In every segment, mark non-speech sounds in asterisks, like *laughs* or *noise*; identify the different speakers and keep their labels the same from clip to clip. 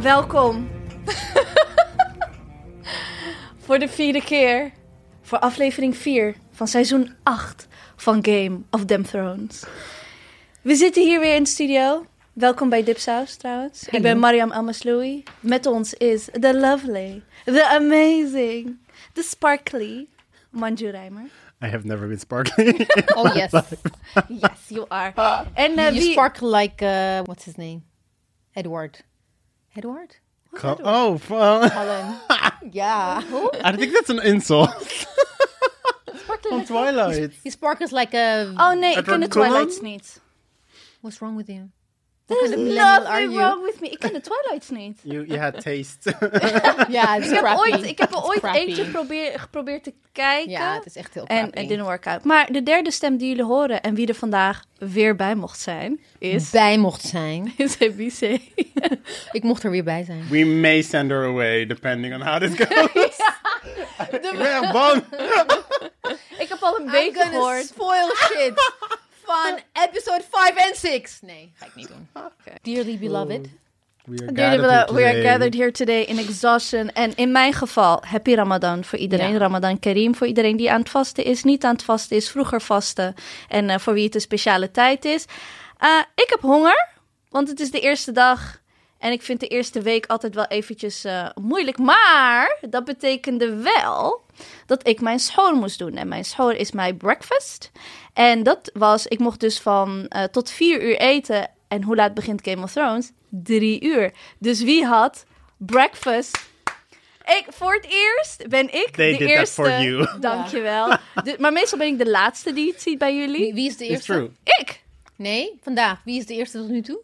Speaker 1: Welkom. *laughs* voor de vierde keer. Voor aflevering 4 van seizoen 8 van Game of Them Thrones. We zitten hier weer in de studio. Welkom bij Dipsaus trouwens. Ik ben Mariam Almasloui. Met ons is the lovely, the amazing, the sparkly Manju Reimer.
Speaker 2: I have never been sparkly.
Speaker 3: Oh yes, *laughs*
Speaker 1: Yes, you are. En eh,
Speaker 3: Uh, you
Speaker 1: wie...
Speaker 3: sparkle like uh, what's his name, Edward. Edward
Speaker 2: Co- *laughs* oh, f- uh,
Speaker 3: Cullen. *laughs* yeah,
Speaker 2: *laughs* I think that's an insult.
Speaker 3: sparkle.
Speaker 2: On
Speaker 3: Like,
Speaker 2: Twilight.
Speaker 3: he sparkles like a.
Speaker 1: Oh nee, ik
Speaker 2: Edward
Speaker 1: ken de
Speaker 2: Cullen?
Speaker 1: Twilights niet.
Speaker 3: What's wrong with you?
Speaker 1: There is
Speaker 3: kind of millennial are
Speaker 1: nothing
Speaker 3: you?
Speaker 1: wrong with me. Ik ken de Twilights niet.
Speaker 2: You, you had taste.
Speaker 3: Yeah, *laughs* it's
Speaker 1: Ik heb,
Speaker 3: crappy.
Speaker 1: ooit, ik heb er
Speaker 3: It's
Speaker 1: ooit
Speaker 3: crappy.
Speaker 1: eentje probeer- geprobeerd te kijken.
Speaker 3: Ja, het is echt heel
Speaker 1: En
Speaker 3: crappy.
Speaker 1: het didn't work out. Maar de derde stem die jullie horen en wie er vandaag weer bij mocht zijn, is...
Speaker 3: bij mocht zijn.
Speaker 1: Is ABC.
Speaker 3: Ik mocht er weer bij zijn.
Speaker 2: we may send her away depending on how this goes. *laughs* yeah, bang.
Speaker 1: *laughs* ik heb al een beetje gehoord.
Speaker 3: spoil
Speaker 1: *laughs*
Speaker 3: shit van episode 5 en 6. Nee, ga ik niet
Speaker 1: *laughs*
Speaker 3: doen. Dearly beloved.
Speaker 2: We are
Speaker 1: Dearly
Speaker 2: gathered here
Speaker 1: beloved, we are
Speaker 2: today.
Speaker 1: gathered here today in exhaustion. En in mijn geval, happy Ramadan voor iedereen.
Speaker 3: Ja.
Speaker 1: Ramadan Karim voor iedereen die aan het vasten is, niet aan het vasten is, vroeger vasten. En eh, voor wie het een speciale tijd is. Eh, ik heb honger, want het is de eerste dag. En ik vind de eerste week altijd wel eventjes eh, moeilijk. Maar dat betekende wel dat ik mijn school moest doen. En mijn school is mijn breakfast. En dat was, ik mocht dus van eh, tot vier uur eten. En hoe laat begint Game of Thrones? Drie uur. Dus wie had breakfast? Ik, voor het eerst ben ik
Speaker 2: They
Speaker 1: de
Speaker 2: did that
Speaker 1: eerste.
Speaker 2: for you.
Speaker 1: *laughs* Dankjewel. De- maar meestal ben ik de laatste die het ziet bij
Speaker 3: Wie,
Speaker 1: jullie.
Speaker 3: wie is de
Speaker 2: It's
Speaker 3: eerste?
Speaker 2: true.
Speaker 1: Ik.
Speaker 3: Nee, vandaag. Wie is de eerste tot nu toe?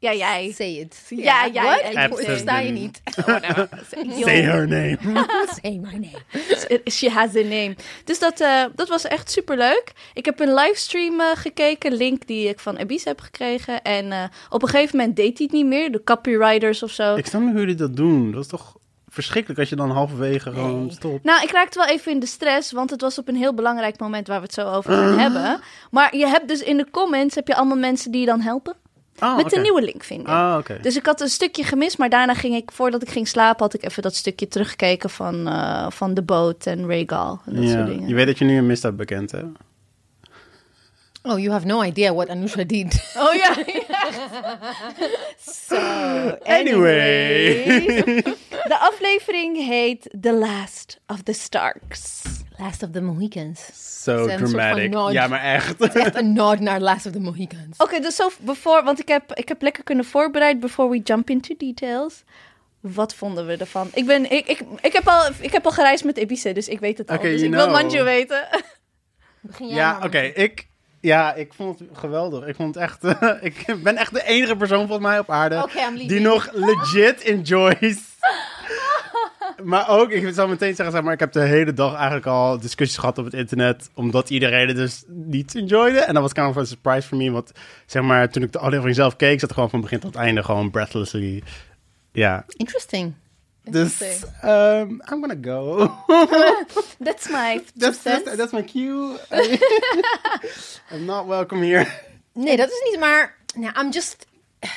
Speaker 1: Ja, jij.
Speaker 3: Say it.
Speaker 1: Ja, ja,
Speaker 3: Wat?
Speaker 1: ja,
Speaker 3: Ik versta je
Speaker 2: Absolutely.
Speaker 3: niet.
Speaker 2: Say her name.
Speaker 3: *laughs* Say my name.
Speaker 1: *laughs* She has a name. Dus dat, eh, dat was echt super leuk. Ik heb een livestream eh, gekeken, link die ik van Abyss heb gekregen. En eh, op een gegeven moment deed hij het niet meer, de copywriters of zo.
Speaker 2: ik snap niet hoe jullie dat doen. Dat is toch verschrikkelijk als je dan halverwege gewoon stopt.
Speaker 1: Nou, ik raakte wel even in de stress, want het was op een heel belangrijk moment waar we het zo over
Speaker 2: Ah.
Speaker 1: gaan hebben. Maar je hebt dus in de comments heb je allemaal mensen die je dan helpen
Speaker 2: Ah,
Speaker 1: met
Speaker 2: oké.
Speaker 1: een nieuwe link vinden.
Speaker 2: Ah, oké.
Speaker 1: Dus ik had een stukje gemist, maar daarna ging ik, voordat ik ging slapen, had ik even dat stukje teruggekeken van, eh, van de boot en Regal en dat
Speaker 2: Ja.
Speaker 1: soort
Speaker 2: Je
Speaker 1: dingen.
Speaker 2: weet dat je nu een misdaad bekent, hè?
Speaker 3: Oh, you have no idea what Anusha did. *laughs*
Speaker 1: Oh *laughs* ja, de aflevering heet The Last of the Starks.
Speaker 3: Last of the Mohicans.
Speaker 2: So
Speaker 3: Ze hebben een soort van
Speaker 2: dramatic.
Speaker 3: nod.
Speaker 2: Ja, maar echt.
Speaker 3: *laughs* Echt een nod naar Last of the Mohicans.
Speaker 1: Oké, dus zo, before, want ik heb, ik heb lekker kunnen voorbereiden before we jump into details. Wat vonden we ervan? Ik, ben, ik, ik, ik, heb, al, ik heb al gereisd met Ibiza, dus ik weet het al.
Speaker 2: Oké,
Speaker 1: dus
Speaker 2: you
Speaker 1: ik wil
Speaker 2: know.
Speaker 1: Manju weten.
Speaker 3: Begin jij
Speaker 2: Ja,
Speaker 3: maar.
Speaker 2: oké. Ik, ja, ik vond het geweldig. Ik vond het echt. *laughs* eh, ik ben echt de enige persoon volgens mij op aarde
Speaker 3: Oké, I'm leaving.
Speaker 2: die
Speaker 3: *laughs*
Speaker 2: nog legit enjoys. maar ook, ik zal meteen zeggen, zeg maar, ik heb de hele dag eigenlijk al discussies gehad op het internet, omdat iedereen het dus niet enjoyde. En dat was kind of een surprise voor me, want zeg maar, toen ik de aflevering zelf keek, zat ik gewoon van begin tot einde gewoon breathlessly. Ja,
Speaker 3: Interesting.
Speaker 2: dus
Speaker 1: Interesting.
Speaker 2: ehm, I'm gonna go. *laughs*
Speaker 1: That's my two
Speaker 2: That's, that's,
Speaker 1: cents.
Speaker 2: that's my cue. *laughs* I'm not welcome here.
Speaker 3: Nee, dat is niet, maar... Nou, I'm just... *sighs*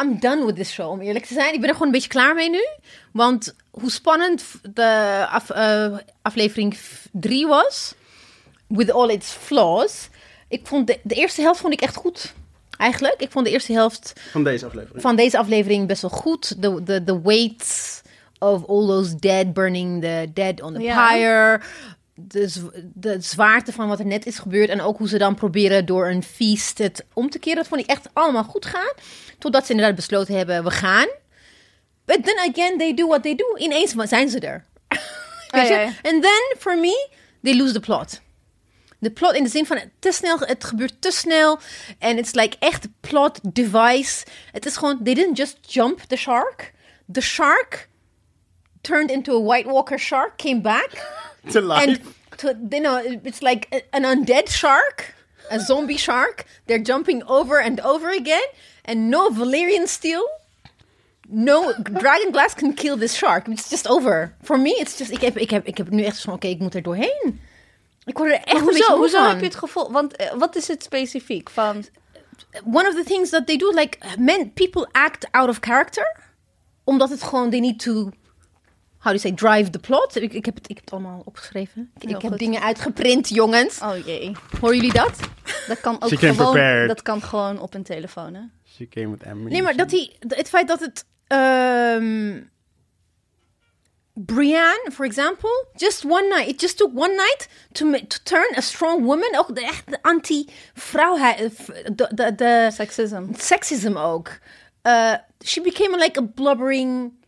Speaker 3: I'm done with this show, om eerlijk te zijn. Ik ben er gewoon een beetje klaar mee nu. Want hoe spannend de af, eh, aflevering 3 was, with all its flaws, ik vond de, de eerste helft vond ik echt goed. Eigenlijk, ik vond de eerste helft
Speaker 2: Van deze aflevering.
Speaker 3: van deze aflevering best wel goed. De, de, de weight of all those dead burning the dead on the
Speaker 1: Ja.
Speaker 3: pyre. De, z- de zwaarte van wat er net is gebeurd. En ook hoe ze dan proberen door een feest het om te keren. Dat vond ik echt allemaal goed gaan. Totdat ze inderdaad besloten hebben, we gaan. But then again, they do what they do. Ineens zijn ze er. Weet
Speaker 1: Ah,
Speaker 3: je?
Speaker 1: ja, ja.
Speaker 3: And then, for me, they lose the plot. De plot in de zin van te snel, het gebeurt te snel. En it's like echt plot device. Het is gewoon, they didn't just jump the shark. The shark turned into a White Walker shark, came back.
Speaker 2: To *laughs* life.
Speaker 3: and to, you know it's like a- an undead shark a zombie shark they're jumping over and over again and no valerian steel no dragon glass can kill this shark it's just over for me it's just ik heb, ik heb, ik heb nu echt zo van oké ik moet er doorheen ik word er echt een beetje
Speaker 1: Hoezo,
Speaker 3: moe
Speaker 1: hoezo
Speaker 3: van.
Speaker 1: heb je het gevoel? Want eh, wat is het specifiek van...
Speaker 3: one of the things that they do, like men, people act out of character, omdat het gewoon they need to, how do you say, drive the plot. Ik, ik, heb, het, ik heb het allemaal opgeschreven. Ik,
Speaker 1: Heel
Speaker 3: ik heb
Speaker 1: goed.
Speaker 3: dingen uitgeprint, jongens.
Speaker 1: Oh jee,
Speaker 3: Horen jullie dat?
Speaker 1: dat kan ook
Speaker 2: She came
Speaker 1: gewoon,
Speaker 2: prepared.
Speaker 1: dat kan gewoon op een telefoon, hè?
Speaker 2: She came with Emily.
Speaker 3: Nee, maar dat hij, het feit dat het ehm Brienne, for example, just one night, it just took one night to, ma- to turn a strong woman, ook de echt de anti-vrouwheid, eh, v- de, de, de
Speaker 1: Sexism.
Speaker 3: seksisme ook. Eh, she became like a blubbering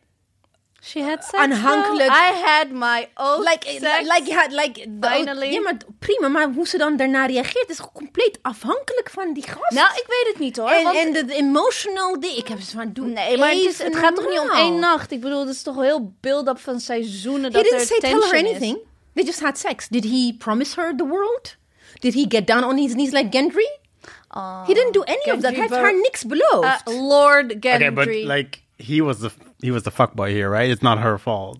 Speaker 1: She had sex.
Speaker 3: Aanhankelijk.
Speaker 1: though. I had my own
Speaker 3: like, eh,
Speaker 1: sex.
Speaker 3: like, ja, like
Speaker 1: Oh,
Speaker 3: oh,
Speaker 1: Finally.
Speaker 3: Ja, maar prima, maar hoe ze dan daarna reageert is compleet afhankelijk van die gast.
Speaker 1: Nou, ik weet het niet hoor.
Speaker 3: en,
Speaker 1: want-
Speaker 3: en de, de emotional ding. Ik heb ze van doen.
Speaker 1: nee, maar het, is- het
Speaker 3: even
Speaker 1: gaat toch niet om
Speaker 3: normaal.
Speaker 1: één nacht? Ik bedoel, het is toch heel build-up van seizoenen
Speaker 3: He
Speaker 1: dat
Speaker 3: didn't
Speaker 1: er
Speaker 3: say tell her
Speaker 1: tension is.
Speaker 3: anything. They just had sex. Did he promise her the world? Did he get down on his knees like Gendry?
Speaker 1: Ah.
Speaker 3: He didn't do any of
Speaker 1: Gendry
Speaker 3: that. Hij heeft
Speaker 1: bo-
Speaker 3: haar niks beloofd.
Speaker 1: Uh, Lord Gendry.
Speaker 2: Okay, but like he was the he was the fuckboy here, right? It's not her fault.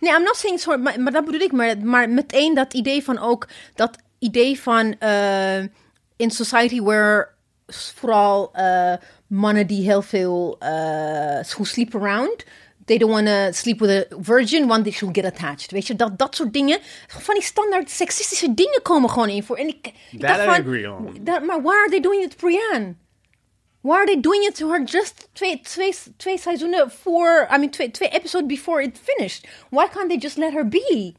Speaker 3: Nee, I'm not saying sorry, maar, maar dat bedoel ik. Maar, maar meteen dat idee van ook, dat idee van eh, in society where s- vooral eh, mannen die heel veel, eh, who sleep around, they don't want to sleep with a virgin, want they should get attached. Weet je, dat, dat soort dingen, van die standaard seksistische dingen komen gewoon in voor. En ik, ik
Speaker 2: That
Speaker 3: dacht
Speaker 2: I
Speaker 3: van,
Speaker 2: agree on.
Speaker 3: Dat, maar why are they doing it to Brienne? Why are they doing it to her just twee, twee, twee seizoenen voor, I mean, twee, twee episodes before it finished? Why can't they just let her be?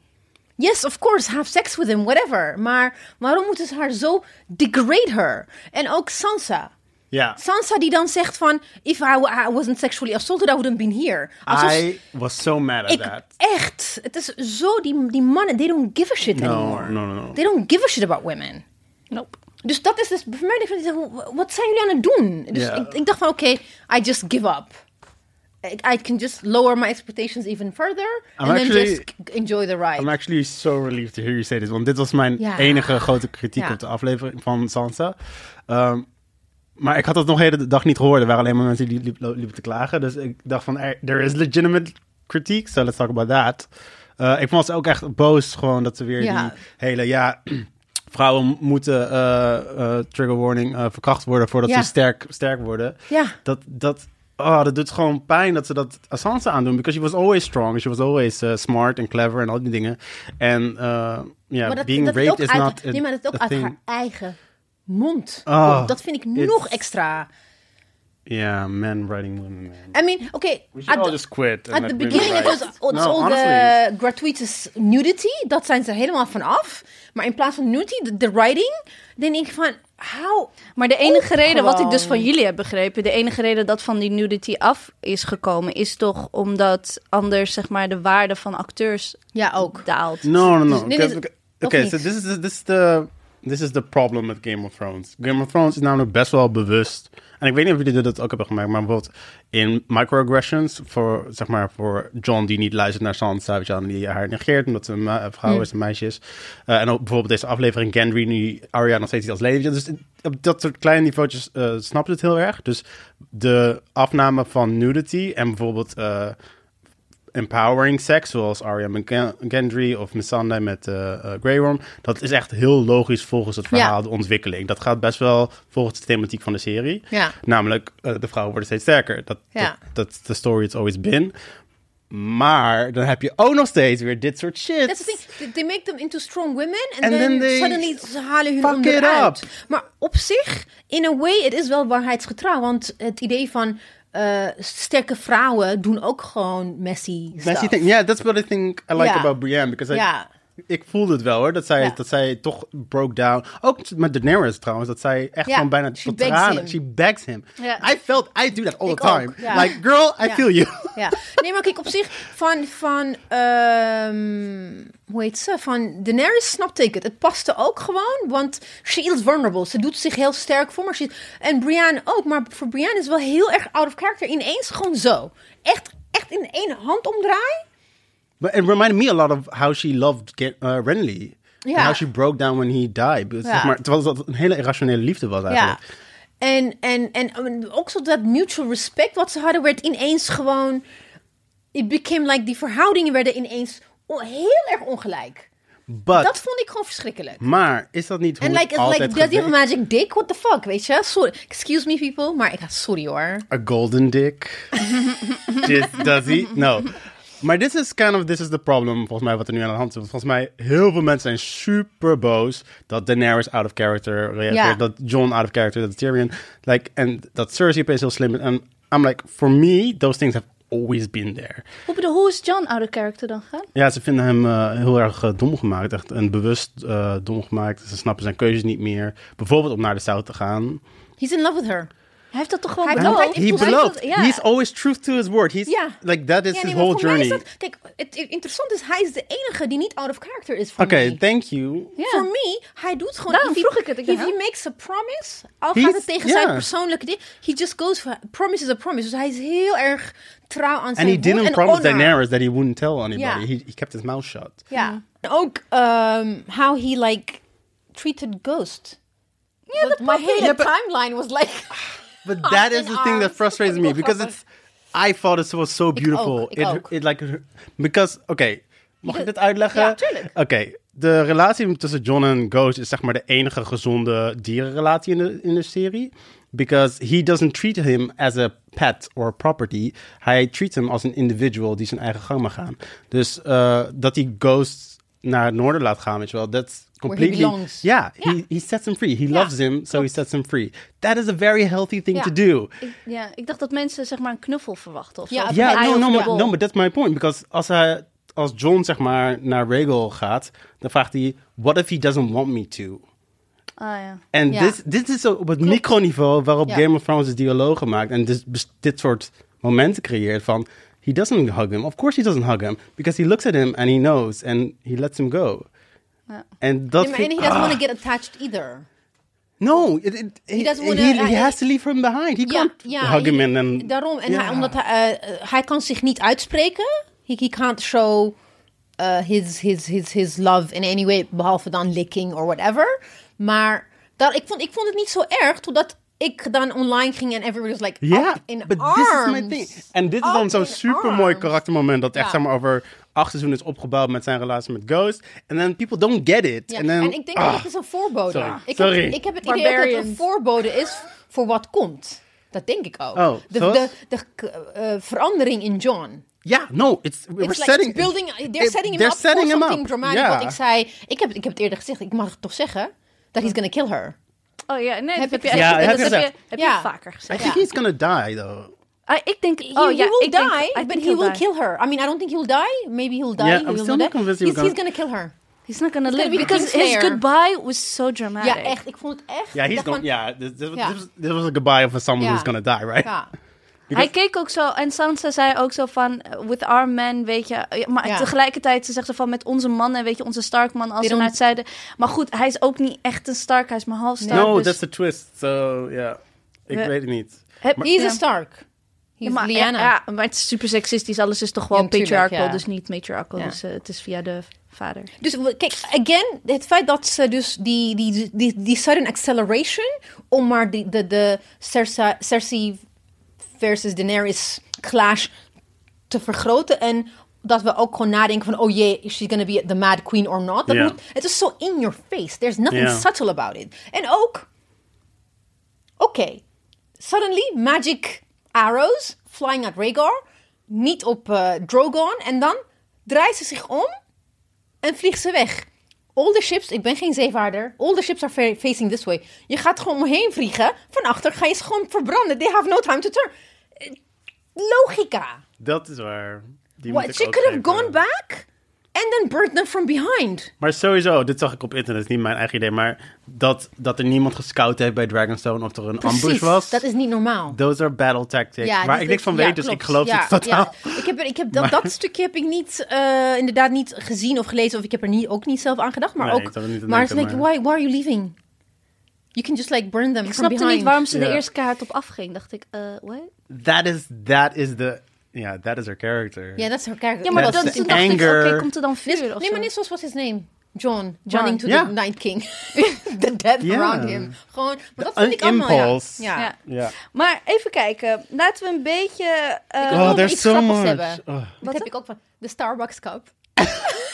Speaker 3: Yes, of course, have sex with him, whatever. Maar waarom moeten ze haar zo degrade her? En ook Sansa.
Speaker 2: Yeah.
Speaker 3: Sansa die dan zegt van, if I, wa- I wasn't sexually assaulted, I wouldn't been here. Alsof
Speaker 2: I was so mad at
Speaker 3: ik,
Speaker 2: that.
Speaker 3: echt, het is zo, die, die mannen, they don't give a shit anymore.
Speaker 2: no, no, no.
Speaker 3: They don't give a shit about women.
Speaker 1: Nope.
Speaker 3: Dus dat is dus voor mij. dat Ik zeg, "Wa- wat zijn jullie aan het doen? Dus
Speaker 2: Ja.
Speaker 3: ik, ik dacht van, oké, I just give up. I, I can just lower my expectations even further. and
Speaker 2: actually-
Speaker 3: then just k- enjoy the ride.
Speaker 2: I'm actually so relieved to hear you say this. Want dit was mijn
Speaker 3: Ja.
Speaker 2: enige grote kritiek
Speaker 3: Ja.
Speaker 2: op de aflevering van Sansa. Ehm, maar ik had dat nog de hele dag niet gehoord. Er waren alleen maar mensen die liep- lo- liepen te klagen. Dus ik dacht van, er- there is legitimate kritiek. So let's talk about that. Eh, ik was ook echt boos gewoon dat ze weer
Speaker 3: Ja.
Speaker 2: die hele... Ja, *clears throat* vrouwen moeten, eh, eh, trigger warning, eh, verkracht worden voordat
Speaker 3: Ja.
Speaker 2: ze sterk, sterk worden.
Speaker 3: Ja.
Speaker 2: Dat, dat, oh, dat doet gewoon pijn dat ze dat aan Sansa aandoen. Because she was always strong. She was always eh, smart and clever en al die dingen. En eh, ja, yeah,
Speaker 3: maar dat,
Speaker 2: being
Speaker 3: dat
Speaker 2: raped
Speaker 3: ook
Speaker 2: is
Speaker 3: uit,
Speaker 2: not a,
Speaker 3: Nee, maar dat ook
Speaker 2: a
Speaker 3: uit
Speaker 2: thing.
Speaker 3: haar eigen mond.
Speaker 2: Ah,
Speaker 3: komt. dat vind ik
Speaker 2: it's-
Speaker 3: nog extra.
Speaker 2: Yeah, men writing women, man.
Speaker 3: I mean, oké.
Speaker 2: We
Speaker 3: at
Speaker 2: should all
Speaker 3: the-
Speaker 2: just quit. and
Speaker 3: At the
Speaker 2: let women
Speaker 3: beginning it was,
Speaker 2: write.
Speaker 3: it's all
Speaker 2: Nou, honestly.
Speaker 3: the gratuitous nudity. Dat zijn ze helemaal van af. Maar in plaats van nudity, de, de writing, dan denk ik van, how...
Speaker 1: Maar de enige
Speaker 3: Ook
Speaker 1: reden, wat ik dus
Speaker 3: Oh, gewoon.
Speaker 1: van jullie heb begrepen, de enige reden dat van die nudity af is gekomen, is toch omdat anders zeg maar de waarde van acteurs
Speaker 3: Ja, ook.
Speaker 1: daalt.
Speaker 2: No, no, no.
Speaker 3: Dus dit is-
Speaker 2: Because-
Speaker 3: of
Speaker 2: okay,
Speaker 3: niet?
Speaker 2: so this is this is the this is the problem met Game of Thrones. Game of Thrones is namelijk best wel bewust. En ik weet niet of jullie dat ook hebben gemerkt, maar bijvoorbeeld in microaggressions voor zeg maar voor John die niet luistert naar Sansa, weet je wel, en die haar negeert omdat ze een ma- een
Speaker 3: Hmm.
Speaker 2: vrouw is, een meisje is. Eh, en ook bijvoorbeeld deze aflevering Gendry nu Arya nog steeds niet als lady. weet je wel. Dus op dat soort kleine niveautjes eh snapt het heel erg. Dus de afname van nudity en bijvoorbeeld eh, empowering seks, zoals Arya met Gen- Gendry of Missandei met eh, eh, Grey Worm, dat is echt heel logisch volgens het verhaal,
Speaker 3: Ja.
Speaker 2: de ontwikkeling. Dat gaat best wel volgens de thematiek van de serie.
Speaker 3: Ja.
Speaker 2: Namelijk, eh, de vrouwen worden steeds sterker. Dat,
Speaker 3: Ja.
Speaker 2: dat, dat is the story it's always been. Maar dan heb je ook nog steeds weer dit soort shit.
Speaker 3: That's the thing. They- They make them into strong women and,
Speaker 2: And
Speaker 3: then,
Speaker 2: then they
Speaker 3: suddenly ze halen hun
Speaker 2: fuck it
Speaker 3: onderuit.
Speaker 2: up.
Speaker 3: Maar op zich, in a way, het is wel waarheidsgetrouw. Want het idee van eh, sterke vrouwen doen ook gewoon messy stuff.
Speaker 2: Messy thing. Yeah, that's what I think I like
Speaker 3: Ja.
Speaker 2: about Brienne. Because I,
Speaker 3: Ja.
Speaker 2: ik voelde het wel hoor, dat zij,
Speaker 3: Ja.
Speaker 2: dat zij toch broke down. Ook met Daenerys trouwens, dat zij echt
Speaker 3: Ja,
Speaker 2: gewoon bijna
Speaker 3: she
Speaker 2: tot
Speaker 3: begs
Speaker 2: tranen.
Speaker 3: him.
Speaker 2: She begs him.
Speaker 1: Ja.
Speaker 2: I felt, I do that all
Speaker 3: Ik
Speaker 2: the time.
Speaker 3: ook, ja.
Speaker 2: Like, girl, I
Speaker 3: Ja.
Speaker 2: feel you.
Speaker 3: Ja. Nee, maar kijk, op zich van, van ehm, hoe heet ze? Van Daenerys snapte ik het. Het paste ook gewoon, want she is vulnerable. Ze doet zich heel sterk voor, maar she En Brienne ook, maar voor Brienne is wel heel erg out of character. Ineens gewoon zo. Echt, echt in één hand omdraai.
Speaker 2: *laughs* But it reminded me a lot of how she loved Ge- uh, Renly. And
Speaker 3: Ja.
Speaker 2: how she broke down when he died. Dus
Speaker 3: Ja.
Speaker 2: zeg maar, terwijl dat een hele irrationele liefde was
Speaker 3: Ja.
Speaker 2: eigenlijk.
Speaker 3: En, en, en ehm, ook zo dat mutual respect wat ze hadden, werd ineens gewoon... It became like, die verhoudingen werden ineens o- heel erg ongelijk.
Speaker 2: But,
Speaker 3: Dat vond ik gewoon verschrikkelijk.
Speaker 2: maar is dat niet hoe
Speaker 3: En
Speaker 2: het
Speaker 3: like, it's
Speaker 2: altijd
Speaker 3: like, does he have a
Speaker 2: gebeurt?
Speaker 3: magic dick? What the fuck, weet je? Sorry. Excuse me, people. Maar ik ga sorry hoor.
Speaker 2: A golden dick. Dit- does he? No. Maar dit is kind of, this is the problem volgens mij wat er nu aan de hand is. Want volgens mij heel veel mensen zijn super boos dat Daenerys out of character reageert.
Speaker 3: Ja.
Speaker 2: Dat Jon out of character, dat Tyrion. Like, en dat Cersei opeens heel slim is. En I'm like, for me, those things have always been there.
Speaker 1: Hoe bedoel, hoe is John out of character dan gaan?
Speaker 2: Ja, ze vinden hem eh, heel erg eh, dom gemaakt. Echt een bewust eh, dom gemaakt. Ze snappen zijn keuzes niet meer. Bijvoorbeeld om naar de zout te gaan.
Speaker 3: He's in love with her.
Speaker 1: Hij heeft dat toch gewoon
Speaker 3: Hij heeft
Speaker 1: beloofd?
Speaker 3: altijd-
Speaker 2: He
Speaker 3: voelt- hij
Speaker 2: beloofed.
Speaker 1: voelt- ja.
Speaker 2: He's always truth to his word. He's,
Speaker 3: Ja.
Speaker 2: Like, that is
Speaker 3: Ja,
Speaker 2: his
Speaker 3: nee, maar
Speaker 2: whole
Speaker 3: voor mij is
Speaker 2: journey.
Speaker 3: dat- kijk, het, het interessante is, hij is de enige die niet out of character is voor
Speaker 2: Oké,
Speaker 3: me.
Speaker 2: thank you.
Speaker 1: Ja.
Speaker 3: Voor me, hij doet gewoon...
Speaker 1: Daarom
Speaker 3: if he-
Speaker 1: vroeg ik het, ik
Speaker 3: if
Speaker 1: dacht,
Speaker 3: he makes a promise, al
Speaker 2: He's-
Speaker 3: gaat het tegen
Speaker 2: ja.
Speaker 3: zijn persoonlijke ding, he just goes for... Promise is a promise. Dus hij is heel erg trouw aan
Speaker 2: And
Speaker 3: zijn
Speaker 2: he
Speaker 3: woord
Speaker 2: didn't
Speaker 3: en
Speaker 2: promise
Speaker 3: honor.
Speaker 2: Daenerys that he wouldn't tell anybody.
Speaker 3: Ja.
Speaker 2: He, he kept his mouth shut.
Speaker 1: Mm.
Speaker 3: Ja. En Ook ehm, how he like treated Ghost. Ja, dat My hele
Speaker 2: Ja, but-
Speaker 3: timeline was like...
Speaker 2: But that is
Speaker 3: in
Speaker 2: the thing that
Speaker 3: arms.
Speaker 2: frustrates me because it's. I thought it was so beautiful.
Speaker 3: ook, ik
Speaker 2: it,
Speaker 3: ook.
Speaker 2: it like because oké, mag ik dit uitleggen?
Speaker 3: Ja, tuurlijk.
Speaker 2: Oké, de relatie tussen John en Ghost is zeg maar de enige gezonde dierenrelatie in de, in de serie. Because he doesn't treat him as a pet or property. Hij treats hem als een individual die zijn eigen gang mag gaan. Dus eh, dat hij Ghost naar het noorden laat gaan, weet je wel. That's completely...
Speaker 3: belongs.
Speaker 2: Ja, He, he sets him free. He loves him, so he sets him free. That is a very healthy thing
Speaker 3: Ja.
Speaker 2: to do.
Speaker 1: Ik, ja, ik dacht dat mensen zeg maar een knuffel verwachten of zo.
Speaker 3: Ja,
Speaker 1: Of
Speaker 2: Ja,
Speaker 1: een eye
Speaker 2: no,
Speaker 1: of
Speaker 2: no,
Speaker 1: the
Speaker 2: maar-
Speaker 1: ball.
Speaker 2: no, but that's my point. Because als, hij, als John zeg maar naar Regal gaat, dan vraagt hij, what if he doesn't want me to?
Speaker 1: Ah, ja.
Speaker 2: En
Speaker 3: Ja.
Speaker 2: dit, dit is op het microniveau waarop
Speaker 3: Ja.
Speaker 2: Game of Thrones de dialogen maakt en dus bes- dit soort momenten creëert van, he doesn't hug him. Of course he doesn't hug him. Because he looks at him and he knows and he lets him go. En dat
Speaker 3: Nee, maar- En
Speaker 2: vind
Speaker 3: he
Speaker 2: ik-
Speaker 3: doesn't
Speaker 2: ah.
Speaker 3: want to get attached either.
Speaker 2: No, it, it, he,
Speaker 3: doesn't
Speaker 2: he,
Speaker 3: wanna-
Speaker 2: he,
Speaker 3: hij-
Speaker 2: has to leave him behind. He
Speaker 3: Ja,
Speaker 2: can't
Speaker 3: ja.
Speaker 2: hug him
Speaker 3: he-
Speaker 2: and then...
Speaker 3: Daarom. En
Speaker 2: Ja.
Speaker 3: hij, omdat hij, eh, eh, hij kan zich niet uitspreken. He, he can't show eh, his, his, his, his love in any way. Behalve dan licking or whatever. Maar daar, ik, vond, ik vond het niet zo erg. Totdat ik dan online ging en everybody was like,
Speaker 2: Ja,
Speaker 3: up in
Speaker 2: but
Speaker 3: arms.
Speaker 2: this is my thing. En dit is
Speaker 3: Up
Speaker 2: dan zo'n
Speaker 3: in
Speaker 2: super mooi
Speaker 3: arms.
Speaker 2: karaktermoment dat echt
Speaker 3: Ja.
Speaker 2: zeg maar over acht seizoenen is opgebouwd met zijn relatie met Ghost. En then people don't get it.
Speaker 3: Ja,
Speaker 2: En dan Ah.
Speaker 3: en ik denk dat het is een voorbode.
Speaker 2: sorry.
Speaker 3: Ik,
Speaker 2: Sorry.
Speaker 3: Heb, ik heb het idee dat het een
Speaker 1: Barbarians.
Speaker 3: voorbode is voor wat komt. Dat denk ik ook.
Speaker 2: Oh,
Speaker 3: de,
Speaker 2: zoals?
Speaker 3: de, de, eh, verandering in John.
Speaker 2: ja, no, it's we're
Speaker 3: It's like
Speaker 2: setting
Speaker 3: it's building, they're
Speaker 2: it-
Speaker 3: setting him
Speaker 2: they're
Speaker 3: up for
Speaker 2: setting him
Speaker 3: something
Speaker 2: up.
Speaker 3: dramatic.
Speaker 2: Ja.
Speaker 3: Wat ik zei, ik heb, ik heb het eerder gezegd, ik mag het toch zeggen, dat he's gonna kill her.
Speaker 1: Oh ja, nee, dat
Speaker 3: Heb ik
Speaker 1: heb je,
Speaker 2: gezegd. Ja,
Speaker 1: dat
Speaker 2: heb je
Speaker 1: heb je,
Speaker 2: gezegd.
Speaker 1: heb
Speaker 3: Ja.
Speaker 1: je vaker gezegd.
Speaker 2: I think he's gonna die though.
Speaker 1: Ah, ik denk,
Speaker 3: Oh,
Speaker 1: oh
Speaker 3: he
Speaker 1: ja,
Speaker 3: will
Speaker 1: ik denk, I
Speaker 3: die,
Speaker 1: think
Speaker 3: but he
Speaker 1: he'll
Speaker 3: will
Speaker 1: die.
Speaker 3: kill her. I mean, I don't think he'll die. Maybe he'll die.
Speaker 2: Yeah,
Speaker 3: he
Speaker 2: I'm
Speaker 3: will
Speaker 2: still not convinced he
Speaker 3: he's,
Speaker 2: will
Speaker 3: he's gonna kill her.
Speaker 1: He's not gonna live
Speaker 3: be the
Speaker 1: because his
Speaker 3: Kingslayer.
Speaker 1: goodbye was so dramatic.
Speaker 3: Ja, echt. Ik vond het echt.
Speaker 2: Ja,
Speaker 3: ik
Speaker 2: he's
Speaker 3: dacht
Speaker 2: gonna.
Speaker 3: van-
Speaker 2: Ja, this, this, was-
Speaker 3: Ja.
Speaker 2: This, was, this was a goodbye for someone
Speaker 3: Ja.
Speaker 2: who's gonna die, right?
Speaker 3: Ja.
Speaker 1: Hij keek ook zo en Sansa zei ook zo van eh, with our men, weet je, Ja, maar
Speaker 3: Ja.
Speaker 1: tegelijkertijd ze zegt ze van met onze mannen, weet je, onze Stark man als
Speaker 3: They
Speaker 1: ze naar
Speaker 3: don't-
Speaker 1: het zuiden. Maar goed, hij is ook niet echt een Stark, hij is maar half Stark.
Speaker 2: No,
Speaker 1: dus-
Speaker 2: that's the twist. So yeah, ik
Speaker 1: We-
Speaker 2: weet het niet.
Speaker 1: Heb-
Speaker 3: He's
Speaker 1: Ja.
Speaker 3: a Stark.
Speaker 1: Ja,
Speaker 3: He's
Speaker 1: maar, ja,
Speaker 3: Lyanna.
Speaker 1: ja, maar het is super seksistisch. Alles is toch gewoon
Speaker 3: Ja, natuurlijk,
Speaker 1: patriarchal,
Speaker 3: ja.
Speaker 1: dus niet matriarchal.
Speaker 3: Ja.
Speaker 1: Dus eh, het is via de vader.
Speaker 3: Dus we- kijk, again, het feit dat ze dus die, die, die, die sudden acceleration om maar die, de, de Cersa- Cersei versus Daenerys clash te vergroten en dat we ook gewoon nadenken van, oh jee, is she gonna be the mad queen or not? Dat
Speaker 2: Ja.
Speaker 3: moet, het is zo in your face. There's nothing
Speaker 2: Ja.
Speaker 3: subtle about it. En ook, oké, suddenly magic arrows flying at Rhaegar, niet op eh, Drogon en dan draait ze zich om en vliegt ze weg. All the ships, ik ben geen zeevaarder. All the ships are fa- facing this way. Je gaat gewoon omheen vliegen. Van achter ga je ze gewoon verbranden. They have no time to turn. Eh, Logica.
Speaker 2: Dat is waar. Die
Speaker 3: What,
Speaker 2: moet ik
Speaker 3: she
Speaker 2: ook
Speaker 3: could have
Speaker 2: geven.
Speaker 3: gone back. En dan burnt them from behind.
Speaker 2: Maar sowieso, dit zag ik op internet, niet mijn eigen idee. Maar dat, dat er niemand gescout heeft bij Dragonstone of er een ambush was.
Speaker 3: dat is niet normaal.
Speaker 2: Those are battle tactics. waar
Speaker 3: dus
Speaker 2: ik niks
Speaker 3: dat-
Speaker 2: van
Speaker 3: ja,
Speaker 2: weet, dus
Speaker 3: klopt.
Speaker 2: ik geloof
Speaker 3: Ja,
Speaker 2: het totaal.
Speaker 3: ja. Ik heb, er- ik heb
Speaker 2: *laughs*
Speaker 3: dat, dat stukje heb ik niet, eh, inderdaad niet gezien of gelezen. Of ik heb er niet, ook niet zelf aan gedacht. Maar
Speaker 2: Nee, ik
Speaker 3: ook,
Speaker 2: zal er niet aan
Speaker 3: maar
Speaker 2: denken,
Speaker 3: it's like,
Speaker 2: maar-
Speaker 3: why, why are you leaving? You can just like burn them
Speaker 1: Ik
Speaker 3: from
Speaker 1: snapte
Speaker 3: behind.
Speaker 1: niet waarom ze de
Speaker 2: Ja.
Speaker 1: eerste kaart op afging. Dacht ik, eh what?
Speaker 2: That is, that is the, yeah, that is her character.
Speaker 3: Ja, dat is haar karakter.
Speaker 1: Ja, maar
Speaker 2: That's
Speaker 1: dat,
Speaker 2: the
Speaker 1: toen dacht ik, oké,
Speaker 2: anger.
Speaker 1: komt er dan
Speaker 3: Net-
Speaker 1: vuur of
Speaker 3: nee,
Speaker 1: zo?
Speaker 3: maar net zoals was his name. John.
Speaker 1: John.
Speaker 3: Running to
Speaker 2: Ja.
Speaker 3: the Night King. *laughs* the dead
Speaker 2: Ja.
Speaker 3: around him. Gewoon, maar dat
Speaker 2: The
Speaker 3: vind ik allemaal, ja.
Speaker 2: impulse.
Speaker 3: Ja.
Speaker 1: Ja.
Speaker 2: Ja.
Speaker 1: Maar even kijken. Laten we een beetje... eh,
Speaker 3: Ik wil
Speaker 2: Oh,
Speaker 3: nog
Speaker 2: there's
Speaker 3: iets
Speaker 2: so
Speaker 3: grappigs
Speaker 2: much.
Speaker 3: hebben.
Speaker 2: Oh.
Speaker 3: Dat heb ik ook van de Starbucks cup.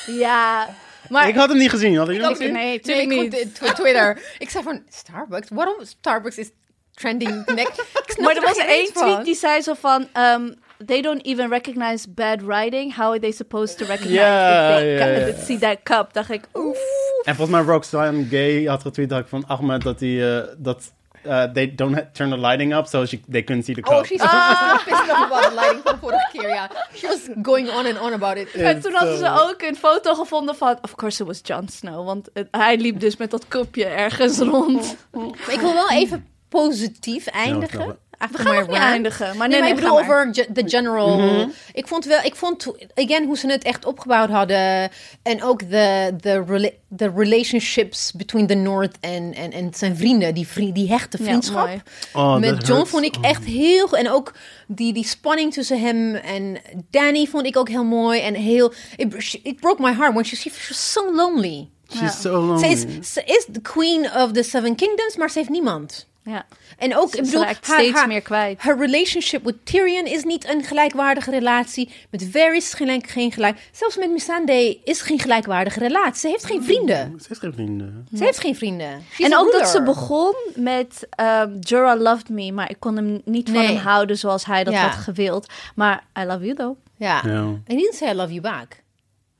Speaker 1: Ja, maar...
Speaker 2: Ik had hem niet gezien, had ik hem
Speaker 1: ook-
Speaker 3: *laughs*
Speaker 2: gezien?
Speaker 1: nee,
Speaker 3: Nee,
Speaker 1: tuurlijk
Speaker 3: ik
Speaker 1: niet.
Speaker 3: op de- op *laughs* Twitter. ik zei van Starbucks. Waarom Starbucks is trending neck? *laughs*
Speaker 1: Maar er was één tweet
Speaker 3: die
Speaker 1: die zei zo van... ehm, they don't even recognize bad writing. How are they supposed to recognize
Speaker 2: Ja,
Speaker 1: that they
Speaker 2: ja, ja.
Speaker 1: can't see that cup? Dacht ik, oef.
Speaker 2: En volgens mij Roxanne Gay had getweet dat ik van Ahmed dat hij eh, dat eh, they don't ha- turn the lighting up, so she, they couldn't see the cup.
Speaker 3: Oh, she's ah. pissed off about the lighting van vorige keer, *laughs* ja. She was going on and on about it.
Speaker 1: En toen hadden ze ook een foto gevonden van... Of course it was Jon Snow. Want eh, hij liep dus met dat kopje
Speaker 3: *laughs*
Speaker 1: ergens rond.
Speaker 3: Maar ik wil wel
Speaker 1: Hmm.
Speaker 3: even positief
Speaker 2: dat kan
Speaker 3: eindigen.
Speaker 2: wel.
Speaker 1: We
Speaker 3: After
Speaker 1: gaan
Speaker 3: my
Speaker 1: nog niet
Speaker 3: rant.
Speaker 1: eindigen. Maar
Speaker 3: Nee,
Speaker 1: nee,
Speaker 3: maar
Speaker 1: nee,
Speaker 3: ik bedoel
Speaker 1: ga maar. Mhm.
Speaker 3: over ge- de general. Ik vond wel, ik vond, to- again, hoe ze het echt opgebouwd hadden. En ook de, de, rela- de relationships between the North en, en, en zijn vrienden. Die, vri- die hechte
Speaker 1: Ja,
Speaker 3: vriendschap.
Speaker 1: mooi.
Speaker 2: Oh, that
Speaker 3: Met John
Speaker 2: hurts.
Speaker 3: vond ik echt heel... En ook die, die spanning tussen hem en Danny vond ik ook heel mooi. En heel... It, she- it broke my heart when she, she was so lonely.
Speaker 2: She's
Speaker 1: Ja.
Speaker 2: so long.
Speaker 3: Ze
Speaker 1: Oh.
Speaker 3: is, ze is the queen of the seven kingdoms, maar ze heeft niemand.
Speaker 1: Ja.
Speaker 3: En ook, ik bedoel,
Speaker 1: raakt steeds meer kwijt.
Speaker 3: Haar relationship with Tyrion is niet een gelijkwaardige relatie. Met Varys is gelijk, geen gelijk. Zelfs met Missandei is geen gelijkwaardige relatie. Ze heeft geen vrienden.
Speaker 2: Ze heeft geen vrienden.
Speaker 3: Ze heeft geen vrienden. She's
Speaker 1: En
Speaker 3: a
Speaker 1: ook dat
Speaker 3: ruler.
Speaker 1: ze begon met ehm Jorah loved me, maar ik kon hem niet van
Speaker 3: Nee.
Speaker 1: hem houden zoals hij dat
Speaker 3: Ja.
Speaker 1: had gewild. Maar I love you though.
Speaker 3: Ja.
Speaker 2: Ja.
Speaker 3: En niet say I love you back.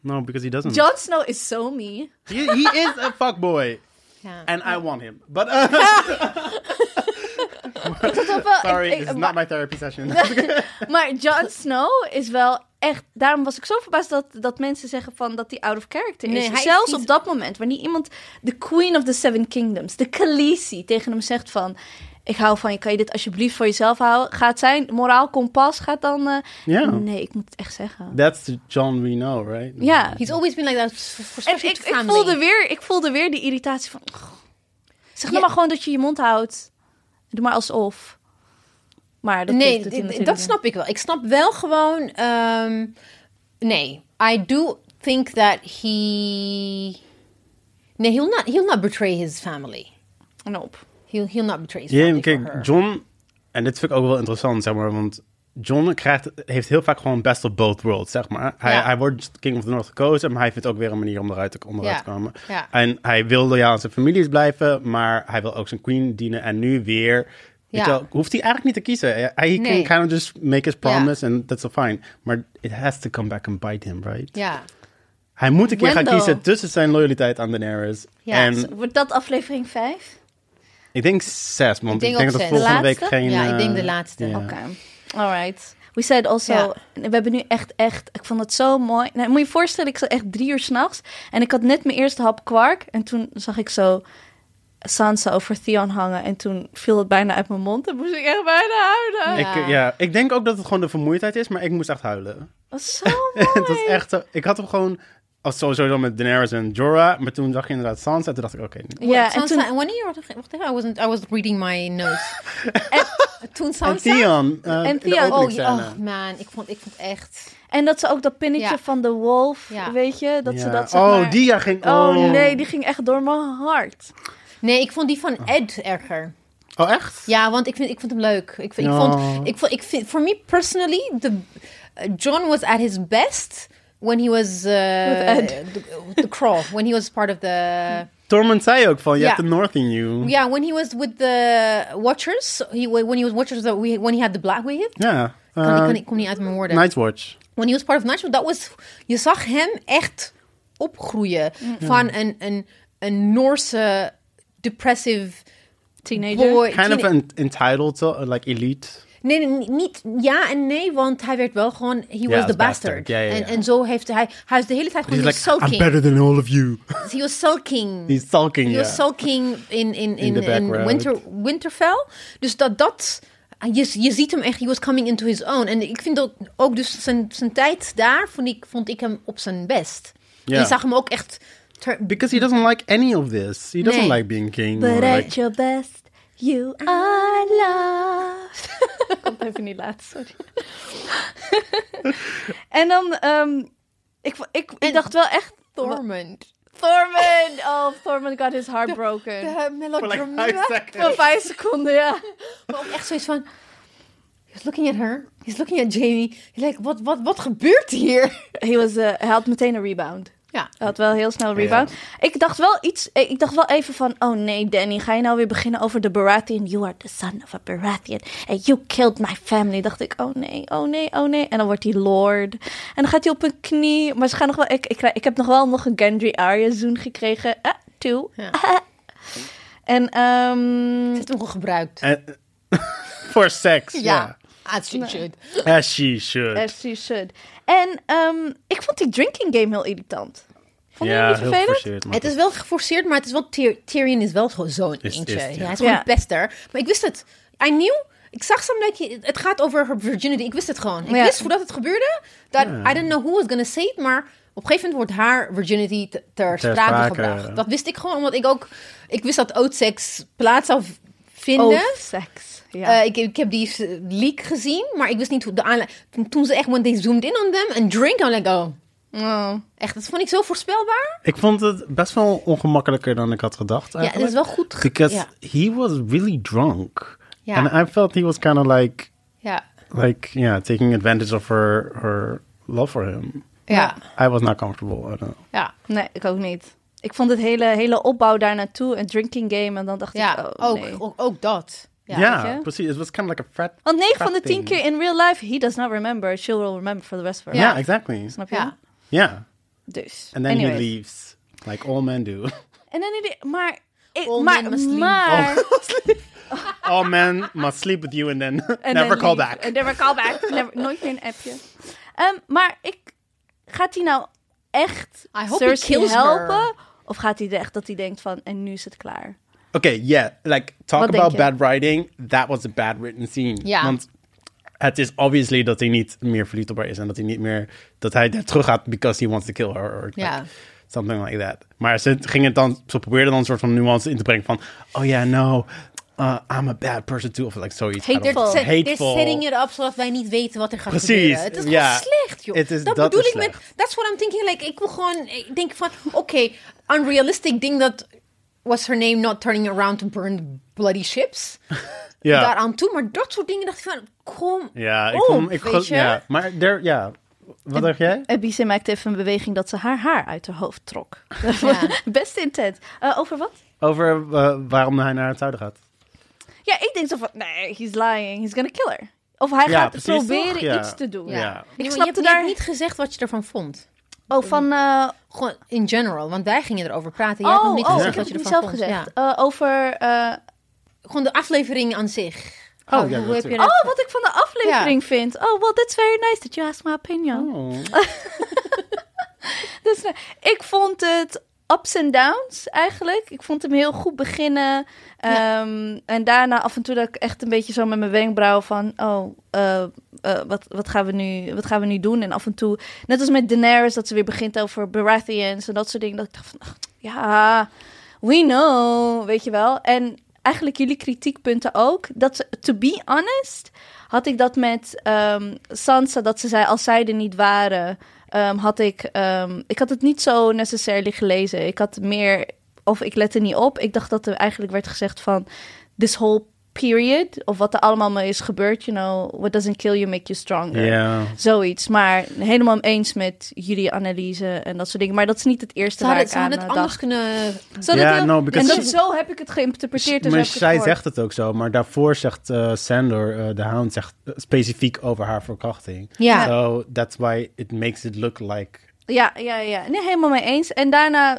Speaker 2: No, because he
Speaker 3: Hm.
Speaker 2: doesn't.
Speaker 1: Jon Snow is so me.
Speaker 2: He, he is a fuckboy.
Speaker 3: Ja.
Speaker 2: And I want him. But uh, *laughs* sorry,
Speaker 1: ik-
Speaker 2: this is
Speaker 1: maar-
Speaker 2: not my therapy session. *laughs*
Speaker 1: Maar Jon Snow is wel echt. Daarom was ik zo verbaasd dat, dat mensen zeggen van dat hij out of character is.
Speaker 3: Nee, hij is
Speaker 1: Zelfs
Speaker 3: niet-
Speaker 1: op dat moment, wanneer iemand de Queen of the Seven Kingdoms, de Khaleesi, tegen hem zegt van. Ik hou van je, kan je dit alsjeblieft voor jezelf houden? Gaat zijn moraal kompas gaat dan. eh,
Speaker 2: Ja.
Speaker 1: Nee, ik moet het echt zeggen.
Speaker 2: That's the John we know, right?
Speaker 1: Ja.
Speaker 3: He's always been like that. For
Speaker 1: En ik, ik, voelde weer, ik voelde weer die irritatie van... "Oh, zeg nou
Speaker 3: Ja.
Speaker 1: maar gewoon dat je je mond houdt. Doe maar alsof. Maar dat
Speaker 3: nee,
Speaker 1: heeft het
Speaker 3: dit-
Speaker 1: natuurlijk
Speaker 3: dat
Speaker 1: niet.
Speaker 3: snap ik wel. Ik snap wel gewoon. ehm, nee, I do think that he. Nee, he'll not. He'll not betray his family.
Speaker 1: Nope.
Speaker 3: He'll, he'll not betray his
Speaker 2: Ja,
Speaker 3: family.
Speaker 2: maar
Speaker 3: for her.
Speaker 2: kijk, John, en dit vind ik ook wel interessant, zeg maar, want John krijgt, heeft heel vaak gewoon best of both worlds, zeg maar. Hij,
Speaker 3: Ja.
Speaker 2: hij wordt King of the North gekozen, maar hij vindt ook weer een manier om eruit te, om eruit te
Speaker 3: Ja,
Speaker 2: komen.
Speaker 3: ja.
Speaker 2: En hij wil loyaal aan zijn families blijven, maar hij wil ook zijn queen dienen. En nu weer, weet
Speaker 3: Ja.
Speaker 2: je wel, hoeft hij eigenlijk niet te kiezen. Hij hij
Speaker 3: Nee.
Speaker 2: can kind of just make his promise and that's all fine. Maar it has to come back and bite him, right?
Speaker 3: Ja.
Speaker 2: Hij moet een keer
Speaker 1: Wendell.
Speaker 2: gaan kiezen tussen zijn loyaliteit aan Daenerys
Speaker 3: Ja,
Speaker 2: en
Speaker 1: Zo, Wordt dat aflevering 5?
Speaker 2: ik denk zes, want ik denk,
Speaker 3: denk ook
Speaker 2: dat
Speaker 3: zes.
Speaker 2: volgende
Speaker 1: De
Speaker 2: week
Speaker 1: laatste?
Speaker 2: geen...
Speaker 3: Ja, ik
Speaker 2: eh,
Speaker 3: denk de laatste.
Speaker 2: ja.
Speaker 1: Oké. Alright. We said also...
Speaker 3: Ja.
Speaker 1: We hebben nu echt, echt... Ik vond het zo mooi. Nou, moet je je voorstellen, ik zat echt drie uur s'nachts. En ik had net mijn eerste hap kwark. En toen zag ik zo... Sansa over Theon hangen. En toen viel het bijna uit mijn mond. En moest ik echt bijna huilen.
Speaker 2: Ik, eh, ja, ik denk ook dat het gewoon de vermoeidheid is, maar ik moest echt huilen. *laughs*
Speaker 1: Dat was zo mooi.
Speaker 2: Het was echt, zo- ik had hem gewoon, als sowieso dan met Daenerys en Jorah, maar toen zag je inderdaad Sansa en toen dacht ik, oké, nu.
Speaker 1: Ja, en
Speaker 3: Sansa,
Speaker 1: toen,
Speaker 3: en wanneer? Wacht even, wacht even, I wasn't. I was reading my
Speaker 2: *laughs*
Speaker 3: notes. Eh, en, toen
Speaker 2: En
Speaker 3: Sansa.
Speaker 2: Theon, eh,
Speaker 1: En
Speaker 2: in de
Speaker 1: Theon,
Speaker 3: Oh, ja,
Speaker 2: openingsscène.
Speaker 3: oh man, ik vond, ik vond echt.
Speaker 1: en dat ze ook dat pinnetje
Speaker 3: Ja.
Speaker 1: van de wolf,
Speaker 3: Ja.
Speaker 1: weet je, dat ze
Speaker 2: Ja.
Speaker 1: dat zeg
Speaker 2: oh,
Speaker 1: maar-
Speaker 2: die ja ging, oh.
Speaker 1: Oh nee, die ging echt door mijn hart.
Speaker 3: Nee, ik vond die van Ed erger.
Speaker 2: Oh, echt?
Speaker 3: Ja, want ik, vind, ik vond hem leuk. Ik, vind- ik
Speaker 2: Ja.
Speaker 3: vond, ik vond, ik vind, for me personally, the, eh, John was at his best when he was uh,
Speaker 1: Ed.
Speaker 3: The, the Crawl, when he was part of the
Speaker 2: Tormund zei ook van, you
Speaker 3: Ja.
Speaker 2: have the north in you.
Speaker 3: yeah, when he was with the Watchers, he when he was Watchers, that we when he had the Black Wave.
Speaker 2: Ja. eh,
Speaker 3: Kan, ik- kan, ik kom niet uit mijn woorden.
Speaker 2: Night's Watch.
Speaker 3: When he was part of Nightshade, dat was je zag hem echt opgroeien van een een een Noorse depressive
Speaker 1: Teenager.
Speaker 3: boy.
Speaker 2: Kind of
Speaker 3: teenage-
Speaker 2: an entitled, to, uh, like elite.
Speaker 3: Nee, nee, ni- niet ja en nee, want hij werd wel gewoon... He was
Speaker 2: als
Speaker 3: the bastard.
Speaker 2: bastard. Ja, ja, ja.
Speaker 3: En, en zo heeft hij... Hij is de hele tijd
Speaker 2: He's
Speaker 3: gewoon
Speaker 2: like, I'm
Speaker 3: sulking.
Speaker 2: better than all of you. *laughs*
Speaker 3: He was sulking.
Speaker 2: He's sulking,
Speaker 3: He
Speaker 2: ja.
Speaker 3: was sulking in, in, in,
Speaker 2: the
Speaker 3: in,
Speaker 2: background.
Speaker 3: Winter, Winterfell. Dus dat dat... Je, je ziet hem echt, he was coming into his own. En ik vind dat ook dus zijn, zijn tijd daar vond ik, vond ik hem op zijn best.
Speaker 2: Ja.
Speaker 3: Je zag hem ook echt... ter-
Speaker 2: Because he doesn't like any of this. He doesn't
Speaker 3: Nee.
Speaker 2: like being king. or
Speaker 1: But
Speaker 2: like-
Speaker 1: at your best, you are *laughs* loved. Ik kon het even niet laten, sorry. *laughs* en dan, ehm, ik, ik, ik
Speaker 3: En-
Speaker 1: dacht wel echt...
Speaker 3: Torment.
Speaker 1: Thorman! Oh, Thorman got his heart broken.
Speaker 3: De
Speaker 2: *laughs* For like
Speaker 3: melodrama.
Speaker 2: five
Speaker 1: Voor
Speaker 2: seconds.
Speaker 1: vijf seconden, ja.
Speaker 3: Maar ook echt zoiets van... He's looking at her. He's looking at Jamie. He's like, wat, wat, wat gebeurt hier?
Speaker 1: He was, eh, hij had meteen een rebound.
Speaker 3: Ja.
Speaker 1: Hij had wel heel snel een rebound. Ik dacht wel iets. eh, Ik dacht wel even van. Oh nee, Danny, ga je nou weer beginnen over de Baratheon? You are the son of a Baratheon. And you killed my family. Dacht ik, oh nee, oh nee, oh nee. En dan wordt hij Lord. En dan gaat hij op een knie. Maar ze gaan nog wel. Ik, ik, krijg- ik heb nog wel nog een Gendry Arya zoen gekregen. Ah, toe.
Speaker 3: Ja.
Speaker 1: *laughs* En ehm,
Speaker 3: heeft hem gewoon gebruikt.
Speaker 2: *laughs* And- For sex,
Speaker 3: Ja.
Speaker 2: yeah.
Speaker 3: Ah, As she should.
Speaker 2: As she should.
Speaker 1: as you should. En ehm, ik vond die drinking game heel irritant. Vond je hem
Speaker 2: ja,
Speaker 1: niet
Speaker 2: heel
Speaker 1: vervelend?
Speaker 2: geforceerd. maar
Speaker 3: Het is wel geforceerd, maar het is wel... Tyr- Tyrion is wel gewoon zo'n
Speaker 2: Is-
Speaker 3: eentje.
Speaker 2: is-
Speaker 3: ja.
Speaker 2: ja.
Speaker 3: hij is gewoon
Speaker 1: Ja.
Speaker 3: een pester. Maar ik wist het. I knew... Ik zag something, het gaat over her virginity. Ik wist het gewoon. Ik
Speaker 1: Ja.
Speaker 3: wist voordat het gebeurde, dat I didn't know who was gonna say it, maar op een gegeven moment wordt haar virginity te- ter,
Speaker 2: Ter sprake.
Speaker 3: sprake gebracht. Dat wist ik gewoon, omdat ik ook, ik wist dat oudsex plaats zou v- vinden.
Speaker 1: Oh, seks. Ja.
Speaker 3: Eh, ik, ik heb die s- leak gezien, maar ik wist niet hoe de aanleiding. Toen, toen ze echt, when they zoomed in on them and drink, I'm like, oh.
Speaker 1: Oh.
Speaker 3: Echt, dat vond ik zo voorspelbaar.
Speaker 2: Ik vond het best wel ongemakkelijker dan ik had gedacht.
Speaker 3: Ja, dat
Speaker 2: eigenlijk.
Speaker 3: is wel goed. ge-
Speaker 2: Because
Speaker 3: ja,
Speaker 2: he was really drunk.
Speaker 3: Ja.
Speaker 2: And I felt he was kind of like,
Speaker 3: ja,
Speaker 2: like, yeah, taking advantage of her, her love for him.
Speaker 3: ja,
Speaker 2: I was not comfortable. I don't know.
Speaker 3: ja.
Speaker 1: Nee, ik ook niet. Ik vond het hele, hele opbouw daar naartoe, een drinking game, en dan dacht
Speaker 3: ja.
Speaker 1: ik, oh
Speaker 3: ook,
Speaker 1: nee.
Speaker 3: ook, ook dat.
Speaker 2: Ja,
Speaker 3: Ja.
Speaker 1: weet je?
Speaker 2: precies. It was kind of like a frat.
Speaker 1: Want 9 van de
Speaker 2: frat
Speaker 1: 10
Speaker 2: thing.
Speaker 1: keer in real life, he does not remember. She will remember for the rest of her
Speaker 2: Yeah,
Speaker 1: life.
Speaker 2: exactly.
Speaker 1: Snap je?
Speaker 3: Ja.
Speaker 2: Yeah.
Speaker 1: Dus.
Speaker 2: And then
Speaker 1: anyways.
Speaker 2: he leaves, like all men do.
Speaker 1: En dan die, maar... Ik,
Speaker 3: All
Speaker 1: maar,
Speaker 3: men must leave.
Speaker 1: maar...
Speaker 2: Oh. *laughs* all men must sleep with you and
Speaker 3: *laughs*
Speaker 2: then
Speaker 1: En
Speaker 2: never
Speaker 1: dan
Speaker 2: call
Speaker 1: leave.
Speaker 2: back.
Speaker 1: En never call
Speaker 2: *laughs*
Speaker 1: back. Never- nooit meer een appje. Ehm, maar ik... Gaat hij nou echt
Speaker 3: I hope he
Speaker 1: Cersei
Speaker 3: kills her.
Speaker 1: helpen? Of gaat hij echt dat hij denkt van, en nu is het klaar?
Speaker 2: Okay, yeah. Like, talk
Speaker 1: Wat denk
Speaker 2: about
Speaker 1: je?
Speaker 2: bad writing. That was a bad written scene.
Speaker 3: Ja.
Speaker 2: Want het is obviously dat hij niet meer verliefd op haar is. En dat hij niet meer... Dat hij daar terug gaat because he wants to kill her. Or like,
Speaker 3: Ja.
Speaker 2: Something like that. Maar ze ging het dan... Ze probeerde dan een soort van nuance in te brengen van... Oh yeah, no. uh, I'm a bad person too. Of like zoiets. I don't
Speaker 1: Hateful.
Speaker 2: know.
Speaker 1: They're-
Speaker 3: They're,
Speaker 2: Hateful.
Speaker 3: setting it up zodat wij niet weten wat er gaat
Speaker 2: Precies,
Speaker 3: gebeuren. Het is gewoon
Speaker 2: ja.
Speaker 3: slecht, joh.
Speaker 2: Het is-
Speaker 3: dat,
Speaker 2: dat
Speaker 3: bedoel
Speaker 2: is
Speaker 3: ik met... That's what I'm thinking. Like, ik wil gewoon... Ik denk van, oké, unrealistic ding dat... Was her name not turning around to burn bloody ships?
Speaker 2: Ja.
Speaker 3: daaraan toe. Maar dat soort dingen dacht ik van, kom
Speaker 2: Ja, ik
Speaker 3: op,
Speaker 2: vond... Ik
Speaker 3: weet
Speaker 2: gel-
Speaker 3: je?
Speaker 2: ja. Maar er... Ja. Wat dacht jij?
Speaker 1: Ebice maakte even een beweging dat ze haar haar uit haar hoofd trok.
Speaker 3: Ja.
Speaker 1: *laughs* Best intent. Eh, over wat?
Speaker 2: Over eh, waarom hij naar het zuiden gaat.
Speaker 1: Ja, ik denk zo van, nee, he's lying, he's gonna kill her. Of hij gaat proberen
Speaker 2: toch? Ja.
Speaker 1: iets te doen.
Speaker 2: Ja.
Speaker 3: Ja.
Speaker 1: Ik
Speaker 3: Ik
Speaker 1: snapte
Speaker 3: snap je
Speaker 1: daar-
Speaker 3: daar niet gezegd wat je ervan vond.
Speaker 1: Oh, van, eh,
Speaker 3: Gewoon in general, want wij gingen erover praten. Jij hebt
Speaker 1: oh,
Speaker 3: nog niet
Speaker 1: oh,
Speaker 3: gezegd
Speaker 1: ik heb
Speaker 3: wat
Speaker 1: het
Speaker 3: je
Speaker 1: niet
Speaker 3: ervan
Speaker 1: zelf
Speaker 3: vond.
Speaker 1: gezegd.
Speaker 3: Ja.
Speaker 1: Eh, over, eh,
Speaker 3: Gewoon de aflevering aan zich.
Speaker 2: Oh,
Speaker 3: Van,
Speaker 2: ja,
Speaker 3: hoe heb je
Speaker 2: natuurlijk.
Speaker 3: dat-
Speaker 1: oh, wat ik van de aflevering vind. Oh, well, that's very nice that you asked my opinion.
Speaker 2: Oh.
Speaker 1: Dus, eh, ik vond het ups en downs eigenlijk. Ik vond hem heel goed beginnen. Ehm, En daarna af en toe dat ik echt een beetje zo met mijn wenkbrauw van... Oh, eh, eh, wat, wat, gaan we nu, wat gaan we nu doen? En af en toe, net als met Daenerys, dat ze weer begint over Baratheons en dat soort dingen. Dat ik dacht van, ach, ja, we know, weet je wel. En eigenlijk jullie kritiekpunten ook. Dat, ze- to be honest, had ik dat met ehm, Sansa, dat ze zei, als zij er niet waren... ehm, had ik, ehm, ik had het niet zo necessarily gelezen. Ik had meer, of ik lette niet op. Ik dacht dat er eigenlijk werd gezegd van, this whole period, of wat er allemaal mee is gebeurd, you know, what doesn't kill you make you stronger.
Speaker 2: Ja.
Speaker 1: Zoiets, maar helemaal eens met jullie analyse en dat soort dingen. Maar dat is niet het eerste
Speaker 3: Ze
Speaker 1: waar
Speaker 3: hadden,
Speaker 1: ik
Speaker 3: ze
Speaker 1: aan
Speaker 3: hadden het
Speaker 1: eh,
Speaker 3: anders
Speaker 1: dacht.
Speaker 3: kunnen...
Speaker 1: Zodat
Speaker 2: Ja,
Speaker 1: heel-
Speaker 2: no, because
Speaker 1: en dat,
Speaker 2: she-
Speaker 1: zo heb ik het geïnterpreteerd. en zo
Speaker 2: maar
Speaker 1: heb ik het
Speaker 2: zij
Speaker 1: gehoord.
Speaker 2: zegt het ook zo, maar daarvoor zegt eh, Sandor, eh, de hound, zegt eh, specifiek over haar verkrachting.
Speaker 3: Ja.
Speaker 2: So that's why it makes it look like.
Speaker 1: Ja, ja, ja. Nee, helemaal mee eens. En daarna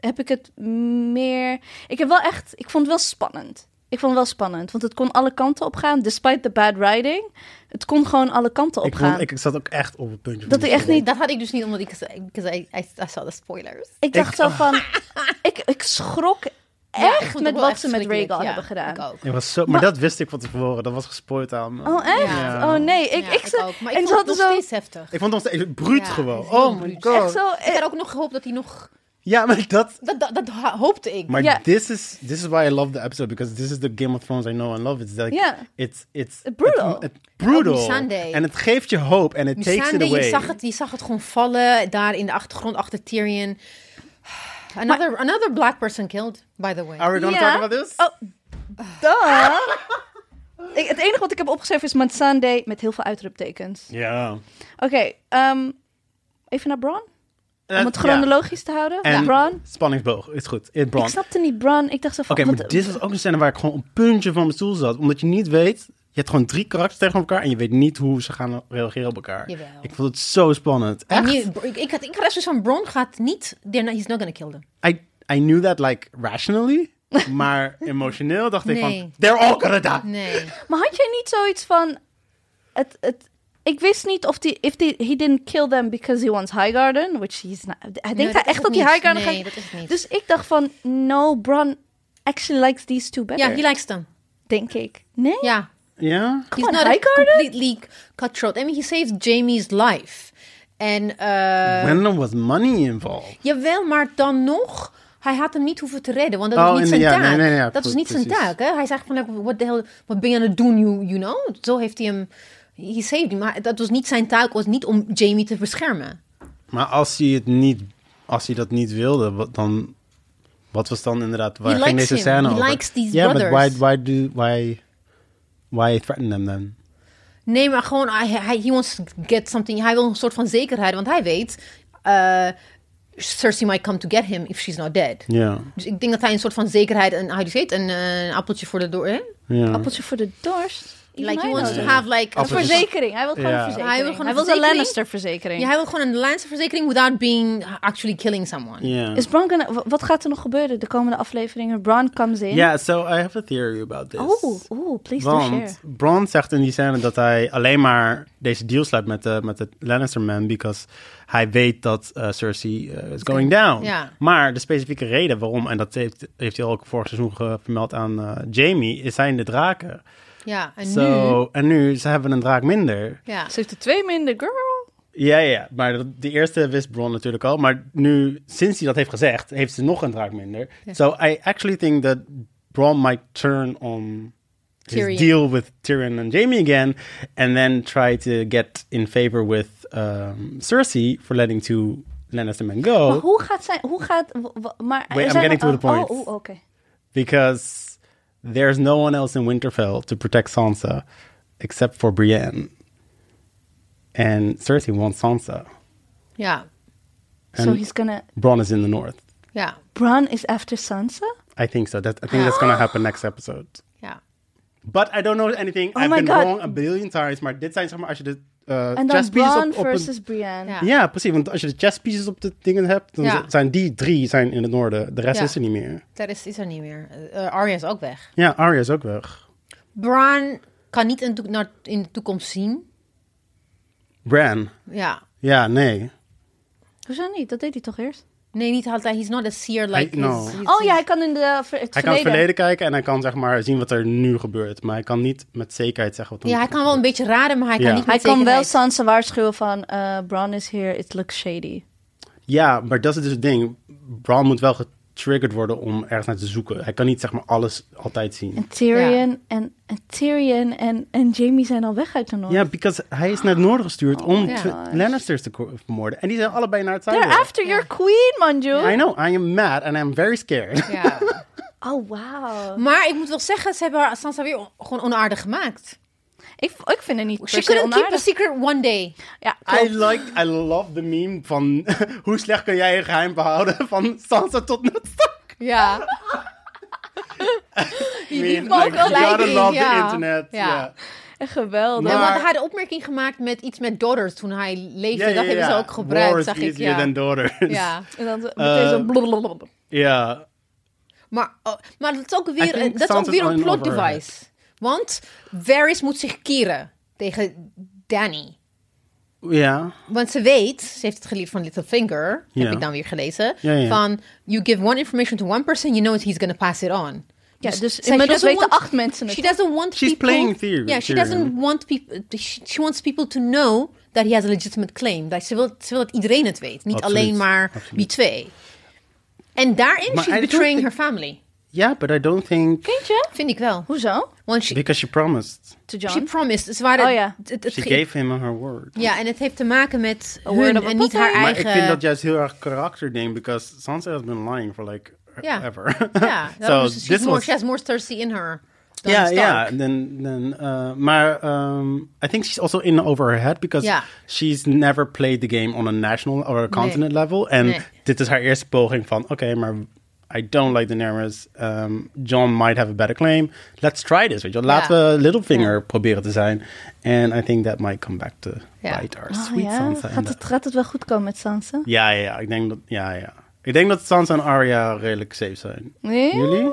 Speaker 1: heb ik het meer... Ik heb wel echt... Ik vond het wel spannend. Ik vond het wel spannend, want het kon alle kanten op gaan. Despite the bad writing, het kon gewoon alle kanten op
Speaker 2: Ik,
Speaker 1: gaan.
Speaker 2: vond, ik, ik zat ook echt op het puntje.
Speaker 1: Dat
Speaker 2: van
Speaker 1: ik echt
Speaker 2: die
Speaker 1: niet-
Speaker 3: Dat had ik dus niet, omdat ik... Because I, I, I saw the spoilers.
Speaker 1: Ik dacht
Speaker 2: Ik-
Speaker 1: zo
Speaker 2: *laughs*
Speaker 1: van, ik, ik schrok
Speaker 3: Ja, ik vond
Speaker 1: echt
Speaker 3: het
Speaker 1: met
Speaker 3: wel
Speaker 1: wat
Speaker 3: echt
Speaker 1: ze met
Speaker 3: verschrikkelijk.
Speaker 1: Regal
Speaker 3: Ja,
Speaker 1: hebben gedaan.
Speaker 3: ik ook.
Speaker 2: film. Ik was zo, maar, dat wist ik van tevoren. Dat was gespoord aan me.
Speaker 1: Oh, echt?
Speaker 2: Ja.
Speaker 1: Oh nee, ik,
Speaker 3: Ja,
Speaker 1: ik, ze-
Speaker 3: ook. Maar ik
Speaker 1: en
Speaker 3: vond
Speaker 1: ze
Speaker 3: het nog
Speaker 1: hadden zo...
Speaker 3: steeds heftig.
Speaker 2: Ik vond het nog steeds bruut
Speaker 3: Ja,
Speaker 2: gewoon.
Speaker 3: het is heel
Speaker 2: Oh my
Speaker 3: bruut.
Speaker 2: god.
Speaker 1: Echt zo...
Speaker 3: Ik
Speaker 1: eh,
Speaker 3: had ook nog gehoopt dat hij nog...
Speaker 2: Ja, maar dat...
Speaker 3: Dat, dat, dat ho- hoopte ik.
Speaker 2: Maar
Speaker 1: Ja.
Speaker 2: this, is, this is why I love the episode. Because this is the Game of Thrones I know and love. It's like...
Speaker 1: Ja.
Speaker 2: It's, it's,
Speaker 1: Brutal.
Speaker 2: It, it- brutal.
Speaker 3: Oh, Missandei.
Speaker 2: En het geeft je hoop. En it takes it
Speaker 3: Missandei,
Speaker 2: away.
Speaker 3: je zag, het, je zag het gewoon vallen daar in de achtergrond achter Tyrion. Another, another black person killed, by the way.
Speaker 2: Are we gonna
Speaker 1: Ja.
Speaker 2: talk about this?
Speaker 1: Oh, duh. Ik- het enige wat ik heb opgeschreven is Mansande met heel veel uitroeptekens.
Speaker 2: Ja.
Speaker 1: Oké, ehm, even naar Bron. Om het
Speaker 2: Eh, Ja.
Speaker 1: chronologisch te houden.
Speaker 2: En
Speaker 1: Bron.
Speaker 2: spanningsboog. Is goed. In
Speaker 1: Ik
Speaker 2: Bron.
Speaker 1: snapte niet Bron. Ik dacht zo van...
Speaker 2: Oké, maar
Speaker 1: wat-
Speaker 2: dit was ook een scène waar ik gewoon een puntje van mijn stoel zat. Omdat je niet weet... Je hebt gewoon drie karakters tegen elkaar en je weet niet hoe ze gaan reageren op elkaar.
Speaker 3: Jawel.
Speaker 2: Ik vond het zo spannend.
Speaker 3: En
Speaker 2: Echt?
Speaker 3: nu- ik, ik had ik had echt zoiets van, Bron gaat niet... they're not- He's not gonna kill them.
Speaker 2: I, I knew that like rationally. *laughs* maar emotioneel dacht ik
Speaker 3: Nee.
Speaker 2: van... They're all gonna die.
Speaker 3: Nee.
Speaker 1: Maar had jij niet zoiets van... Het, het, ik wist niet of die, if die, he didn't kill them because he wants Highgarden. Which he's not... Hij denkt
Speaker 3: dat
Speaker 1: hij echt
Speaker 3: is het
Speaker 1: dat hij
Speaker 3: niet.
Speaker 1: Highgarden
Speaker 3: Nee,
Speaker 1: gaat...
Speaker 3: dat is het niet.
Speaker 1: Dus ik dacht van... No, Bron actually likes these two better.
Speaker 3: Ja, he likes them.
Speaker 1: Denk ik. Nee?
Speaker 3: Ja.
Speaker 2: Ja?
Speaker 1: Come on,
Speaker 3: He's not a
Speaker 1: Highgarden?
Speaker 3: completely cutthroat. I mean, he saved Jamie's life. En, eh,
Speaker 2: When was money involved?
Speaker 3: jawel, maar dan nog... Hij had hem niet hoeven te redden, want dat
Speaker 2: Oh,
Speaker 3: was niet
Speaker 2: en-
Speaker 3: zijn
Speaker 2: ja,
Speaker 3: taak.
Speaker 2: nee, nee, ja,
Speaker 3: dat was
Speaker 2: pre-
Speaker 3: niet zijn
Speaker 2: precies.
Speaker 3: taak. Hè? Hij zegt van, like, what the hell, wat ben je aan het doen, you, you know? Zo heeft hij hem... He saved him, maar dat was niet zijn taak, was niet om Jamie te beschermen.
Speaker 2: Maar als hij het niet... Als hij dat niet wilde, wat dan... Wat was dan inderdaad... Waar
Speaker 3: He
Speaker 2: ging
Speaker 3: likes
Speaker 2: deze
Speaker 3: him.
Speaker 2: scène
Speaker 3: He
Speaker 2: over?
Speaker 3: likes these
Speaker 2: Ja,
Speaker 3: brothers.
Speaker 2: but why, why do... Why, why threaten them then?
Speaker 3: Nee, maar gewoon, hij, hij he wants to get something. Hij wil een soort van zekerheid, want hij weet, eh, Cersei might come to get him if she's not dead.
Speaker 2: Ja.
Speaker 3: Dus ik denk dat hij een soort van zekerheid en hij zegt een, eh, een appeltje voor de door. Hè?
Speaker 2: Ja.
Speaker 1: Appeltje voor de dorst.
Speaker 3: Like
Speaker 1: Even
Speaker 3: he
Speaker 1: mij
Speaker 3: wants
Speaker 1: nodig.
Speaker 3: to have like
Speaker 1: Een
Speaker 2: Appeltjes.
Speaker 3: een verzekering.
Speaker 1: verzekering. Hij wil gewoon
Speaker 2: Ja.
Speaker 1: een verzekering.
Speaker 3: Hij wil gewoon een
Speaker 1: Hij wil
Speaker 3: verzekering.
Speaker 1: een Lannister-verzekering.
Speaker 3: Ja, hij wil gewoon een lijnsverzekering without being actually killing someone.
Speaker 2: Ja.
Speaker 1: Is Bron gonna- wa- wat gaat er nog gebeuren de komende afleveringen? Bron comes in.
Speaker 2: Ja, so I have a theory about this.
Speaker 1: Oh, oh, please do share.
Speaker 2: Want Bron zegt in die scène dat hij alleen maar deze deal sluit met de, met de Lannister man, because hij weet dat eh, Cersei eh, is going down.
Speaker 3: Ja.
Speaker 2: Maar de specifieke reden waarom, en dat heeft, heeft hij ook vorig seizoen ge- vermeld aan Jamie, is zijn de draken.
Speaker 3: Ja, en nu.
Speaker 2: So, En nu, ze hebben een draak minder.
Speaker 3: Ja.
Speaker 1: Ze heeft er twee minder, girl.
Speaker 2: Ja, ja, ja. maar dat- de eerste wist Bron natuurlijk al. Maar nu, sinds hij dat heeft gezegd, heeft ze nog een draak minder. So I actually think that Bron might turn on his
Speaker 3: Tyrion.
Speaker 2: deal with Tyrion and Jaime again. And then try to get in favor with um, Cersei for letting two Lannister men go.
Speaker 1: Maar hoe gaat zijn... Hoe gaat... w- w- Maar er
Speaker 2: Oh. I'm
Speaker 1: zijn
Speaker 2: getting
Speaker 1: nog-
Speaker 2: to the point.
Speaker 1: Oh, oh, oké.
Speaker 2: Because there's no one else in Winterfell to protect Sansa except for Brienne. And Cersei wants Sansa.
Speaker 3: Ja.
Speaker 1: So
Speaker 2: En-
Speaker 1: he's gonna...
Speaker 2: Bron is in the north.
Speaker 3: Ja.
Speaker 1: Bron is after Sansa?
Speaker 2: I think so. That I think that's gonna happen next episode.
Speaker 3: Ja.
Speaker 2: But I don't know anything.
Speaker 1: Oh
Speaker 2: I've
Speaker 1: my
Speaker 2: been
Speaker 1: God.
Speaker 2: wrong a billion times. Maar dit zijn zeg maar als je de eh
Speaker 1: En dan
Speaker 2: chess pieces
Speaker 1: Bron
Speaker 2: op, op
Speaker 1: versus
Speaker 2: een-
Speaker 1: Brienne.
Speaker 3: Ja.
Speaker 2: Ja, precies. Want als je de chess pieces op de dingen hebt, dan
Speaker 3: Ja.
Speaker 2: zijn die drie zijn in het noorden. De rest
Speaker 3: Ja.
Speaker 2: is er niet meer.
Speaker 3: Dat is, is er niet meer. Eh, Arya is ook weg.
Speaker 2: Ja, Arya is ook weg.
Speaker 3: Bran kan niet in, de toek- naar, in de toekomst zien.
Speaker 2: Bran.
Speaker 3: Ja.
Speaker 2: Ja, nee.
Speaker 1: Hoezo niet? Dat deed hij toch eerst?
Speaker 3: Nee, niet altijd. He's not a seer like
Speaker 2: I- no.
Speaker 3: his- his-
Speaker 1: Oh ja, hij kan in de, ver- het
Speaker 2: Hij kan het verleden kijken en hij kan zeg maar zien wat er nu gebeurt. Maar hij kan niet met zekerheid zeggen wat er
Speaker 3: Ja, hij kan wel een beetje raden, maar hij
Speaker 2: Ja.
Speaker 3: kan niet
Speaker 1: Hij
Speaker 3: met
Speaker 1: kan wel
Speaker 3: zekerheid-
Speaker 1: Sansa waarschuwen van... eh Bron is here, it looks shady.
Speaker 2: Ja, maar dat is dus het ding. Bran moet wel getriggerd worden om ergens naar te zoeken. Hij kan niet zeg maar alles altijd zien.
Speaker 1: En Tyrion, en, en, Tyrion en, en Jamie zijn al weg uit de Noord.
Speaker 2: Ja, because hij is naar het noorden gestuurd om
Speaker 3: my
Speaker 2: tw-
Speaker 1: gosh.
Speaker 2: Lannisters te ko- vermoorden. En die zijn allebei naar het zuiden.
Speaker 1: They're after your queen, Manju.
Speaker 2: I know, I am mad and I'm very
Speaker 3: *laughs*
Speaker 2: scared.
Speaker 3: Ja.
Speaker 1: Oh, wow.
Speaker 3: Maar ik moet wel zeggen, ze hebben Sansa weer on- gewoon onaardig gemaakt.
Speaker 1: Ik, ik vind het niet per se
Speaker 3: She couldn't keep a
Speaker 1: onaardig.
Speaker 3: secret one day.
Speaker 1: Ja,
Speaker 2: I
Speaker 1: klopt.
Speaker 2: like, I love the meme van *laughs* hoe slecht kan jij een geheim behouden van Sansa tot
Speaker 3: *laughs*
Speaker 2: Nutstak.
Speaker 3: Ja.
Speaker 2: Die
Speaker 1: maar ook gelijk
Speaker 2: gotta
Speaker 3: in,
Speaker 2: love the
Speaker 3: ja.
Speaker 2: internet.
Speaker 3: Ja.
Speaker 2: Ja.
Speaker 1: Echt geweldig.
Speaker 2: Maar-
Speaker 3: En want hij had een opmerking gemaakt met iets met daughters toen hij leefde.
Speaker 2: Ja, ja,
Speaker 3: dat hebben ze
Speaker 2: ja.
Speaker 3: ook gebruikt,
Speaker 2: War is
Speaker 3: zag ik.
Speaker 2: easier *laughs*
Speaker 3: Ja.
Speaker 1: Eh,
Speaker 2: than daughters.
Speaker 3: ja.
Speaker 1: En dan meteen zo blablabla.
Speaker 2: Ja.
Speaker 3: Maar, oh, maar dat is ook
Speaker 2: I
Speaker 3: weer,
Speaker 2: think
Speaker 3: een- dat is ook
Speaker 2: Sansa's
Speaker 3: weer een
Speaker 2: all
Speaker 3: plot
Speaker 2: over her
Speaker 3: device. Want Varys moet zich keren tegen Danny.
Speaker 2: Ja.
Speaker 3: Want ze weet, ze heeft het geleerd van Littlefinger,
Speaker 2: Ja.
Speaker 3: heb ik dan weer gelezen,
Speaker 2: Ja, ja.
Speaker 3: van you give one information to one person, you know he's gonna pass it on.
Speaker 1: Ja, dus
Speaker 3: zij-
Speaker 1: inmiddels
Speaker 3: she doesn't
Speaker 1: weten acht mensen het.
Speaker 3: She doesn't want
Speaker 2: She's
Speaker 3: people...
Speaker 2: playing theory-
Speaker 3: Yeah, she
Speaker 2: theory.
Speaker 3: doesn't want people... She, she wants people to know that he has a legitimate claim. Dat ze, wil, ze wil dat iedereen het weet, niet
Speaker 2: Absoluut,
Speaker 3: alleen maar die
Speaker 2: absoluut.
Speaker 3: twee. En daarin
Speaker 2: Maar I
Speaker 3: she's
Speaker 2: don't
Speaker 3: betraying
Speaker 2: think-
Speaker 3: her family.
Speaker 2: Yeah, but I don't think...
Speaker 1: Vind je?
Speaker 3: Vind ik wel.
Speaker 1: Hoezo?
Speaker 3: Want she,
Speaker 2: Because she promised.
Speaker 1: To
Speaker 3: she
Speaker 1: John?
Speaker 3: promised. Ze waren,
Speaker 1: Oh ja.
Speaker 3: het- het- het
Speaker 2: She
Speaker 3: ge-
Speaker 2: gave him her word.
Speaker 3: Ja, en het heeft te maken met
Speaker 1: A word
Speaker 3: hun
Speaker 1: of a
Speaker 3: en niet haar
Speaker 1: puppy.
Speaker 2: Maar
Speaker 3: eigen...
Speaker 2: ik vind dat juist heel erg karakterding, because Sansa has been lying for like e-,
Speaker 3: Ja.
Speaker 2: ever. *laughs*
Speaker 3: Ja,
Speaker 2: so
Speaker 3: daarom is- she's
Speaker 2: this
Speaker 3: more,
Speaker 2: was
Speaker 3: she has more thirsty in her. than
Speaker 2: Ja, ja.
Speaker 3: Stark.
Speaker 2: Then, then, uh, maar um, I think she's also in over her head because
Speaker 3: Ja.
Speaker 2: she's never played the game on a national or a continent level. En
Speaker 3: Nee.
Speaker 2: dit is haar eerste poging van, oké, maar I don't like Daenerys. Um, John might have a better claim. Let's try this, weet je wel. Laten
Speaker 3: Ja.
Speaker 2: we Littlefinger proberen te zijn. And I think that might come back to
Speaker 3: Ja.
Speaker 2: bite our
Speaker 1: Oh,
Speaker 2: sweet
Speaker 1: ja?
Speaker 2: Sansa. in
Speaker 1: Gaat
Speaker 2: the-
Speaker 1: het, gaat het wel goed komen met Sansa?
Speaker 2: Ja, ja, ja. Ik denk dat, ja, ja. Ik denk dat Sansa en Arya redelijk safe zijn.
Speaker 1: Nee?
Speaker 2: Jullie?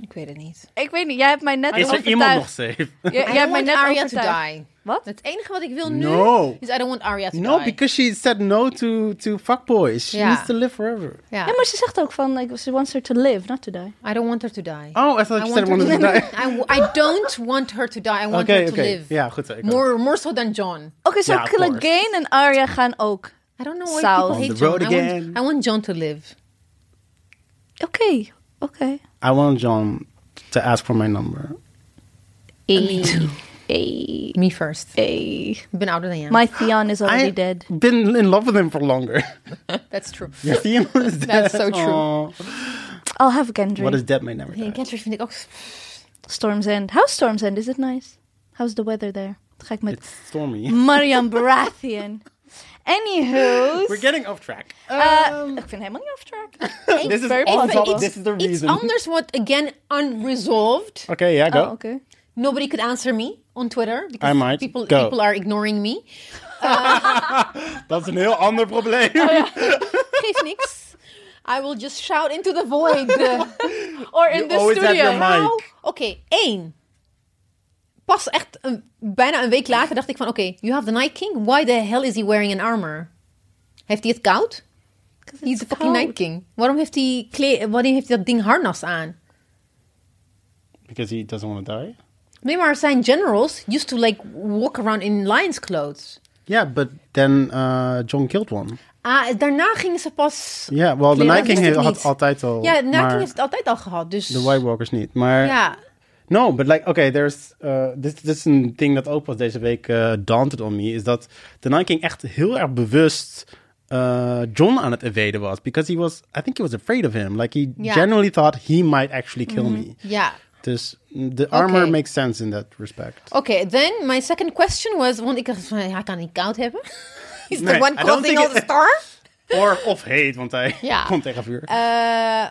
Speaker 3: Ik weet het niet.
Speaker 1: Ik weet niet, jij hebt mij net
Speaker 2: Is er
Speaker 1: overtuigd.
Speaker 2: iemand nog safe?
Speaker 1: J- Jij,
Speaker 3: I
Speaker 1: hebt
Speaker 3: don't
Speaker 1: mij
Speaker 3: want
Speaker 1: net
Speaker 3: Arya to
Speaker 1: overtuigd.
Speaker 3: die.
Speaker 1: Wat?
Speaker 3: Het enige wat ik wil nu
Speaker 2: No.
Speaker 3: is I don't want Arya to
Speaker 2: No,
Speaker 3: die.
Speaker 2: because she said no to to fuckboys. She
Speaker 3: Ja.
Speaker 2: needs to live forever.
Speaker 3: Ja.
Speaker 1: Ja, maar ze zegt ook van, like, she wants her to live, not to die.
Speaker 3: I don't want her to die.
Speaker 2: Oh, I thought
Speaker 3: I
Speaker 2: you said
Speaker 3: want
Speaker 2: wanted
Speaker 3: her
Speaker 2: to die.
Speaker 3: I, w- I don't want her to die. I want
Speaker 2: Oké,
Speaker 3: her to
Speaker 2: oké.
Speaker 3: live.
Speaker 2: Ja, goed zo. ik ook.
Speaker 3: More, more so than John.
Speaker 1: Oké, zo
Speaker 2: Ja, of course.
Speaker 1: Clegane en Arya gaan ook.
Speaker 3: I don't know why
Speaker 1: South.
Speaker 3: people
Speaker 1: On
Speaker 3: hate
Speaker 2: the road
Speaker 3: John. I want-
Speaker 2: again.
Speaker 3: I want John to live.
Speaker 1: Oké, oké.
Speaker 2: *laughs* I want John to ask for my number.
Speaker 1: Ey. Ey.
Speaker 3: Me first.
Speaker 1: Ey.
Speaker 3: Ik ben ouder dan jij.
Speaker 1: My Theon is already
Speaker 2: I've
Speaker 1: dead.
Speaker 2: been in love with him for longer.
Speaker 3: That's true.
Speaker 2: Your *laughs* theme is dead.
Speaker 3: That's so true.
Speaker 2: Aw.
Speaker 1: I'll have a Gendry.
Speaker 2: What is dead may never
Speaker 3: Hey,
Speaker 2: die.
Speaker 3: Catherine vind ik ook...
Speaker 1: Storm's End. How's Storm's End? Is it nice? How's the weather there? Dan ga ik met
Speaker 2: It's
Speaker 1: Mm.
Speaker 2: stormy.
Speaker 1: Marian
Speaker 2: *laughs*
Speaker 1: Baratheon. Anywho.
Speaker 2: We're getting off track.
Speaker 1: eh,
Speaker 2: Um,
Speaker 1: ik vind helemaal niet off
Speaker 2: *laughs*
Speaker 1: track. Oh,
Speaker 2: This is
Speaker 1: very
Speaker 2: on
Speaker 1: possible.
Speaker 2: top. This is the
Speaker 3: Iets
Speaker 2: reason.
Speaker 3: anders wordt, again, unresolved.
Speaker 2: Okay, yeah,
Speaker 1: Oh, oké.
Speaker 2: go.
Speaker 3: Nobody could answer me on Twitter. Because
Speaker 2: I might.
Speaker 3: People,
Speaker 2: Go.
Speaker 3: people are ignoring me.
Speaker 2: Dat is een heel ander probleem. *laughs*
Speaker 3: Geeft niks. I will just shout into the
Speaker 2: *laughs*
Speaker 3: void. Uh,
Speaker 1: Or in
Speaker 2: You
Speaker 1: the
Speaker 2: always have
Speaker 1: studio.
Speaker 2: your mind.
Speaker 3: Nou, Oké, één. Pas echt een- bijna een week later dacht ik van... Oké, you have the Night King. Why the hell is he wearing an armor? Heeft hij het koud? He's the fucking
Speaker 1: koud.
Speaker 3: Night King. Waarom heeft hij, kle- waarom heeft hij dat ding harnas aan?
Speaker 2: Because he doesn't want to die.
Speaker 3: Nee, maar zijn generals used to like walk around in lion's clothes.
Speaker 2: Yeah, but then uh, John killed one.
Speaker 3: Ah, daarna gingen ze pas...
Speaker 2: Ja, wel, de
Speaker 3: kleren-
Speaker 2: Night King
Speaker 3: wist ik
Speaker 2: had
Speaker 3: niet.
Speaker 2: altijd al,
Speaker 3: Ja, de Night
Speaker 2: maar-
Speaker 3: King heeft het altijd al gehad, dus...
Speaker 2: The White Walkers niet. Maar
Speaker 3: Ja,
Speaker 2: No, but like, okay, there's uh, this, this is een ding dat ook pas deze week eh, daunted on me, is dat de Night King echt heel erg bewust eh, John aan het evaden was, because he was, I think he was afraid of him. Like he
Speaker 3: Ja.
Speaker 2: generally thought he might actually kill me.
Speaker 3: ja.
Speaker 2: Dus mm, the armor
Speaker 3: Oké.
Speaker 2: makes sense in that respect.
Speaker 3: Oké, then my second question was... Want *laughs* ik dacht van, hij kan niet koud hebben. *laughs* He's
Speaker 2: Nee,
Speaker 3: the
Speaker 2: I
Speaker 3: one
Speaker 2: don't
Speaker 3: causing
Speaker 2: think
Speaker 3: all
Speaker 2: it-
Speaker 3: the
Speaker 2: *laughs*
Speaker 3: storm.
Speaker 2: Or, of hate, want hij
Speaker 3: Ja.
Speaker 2: *laughs* komt tegen vuur.
Speaker 3: Eh,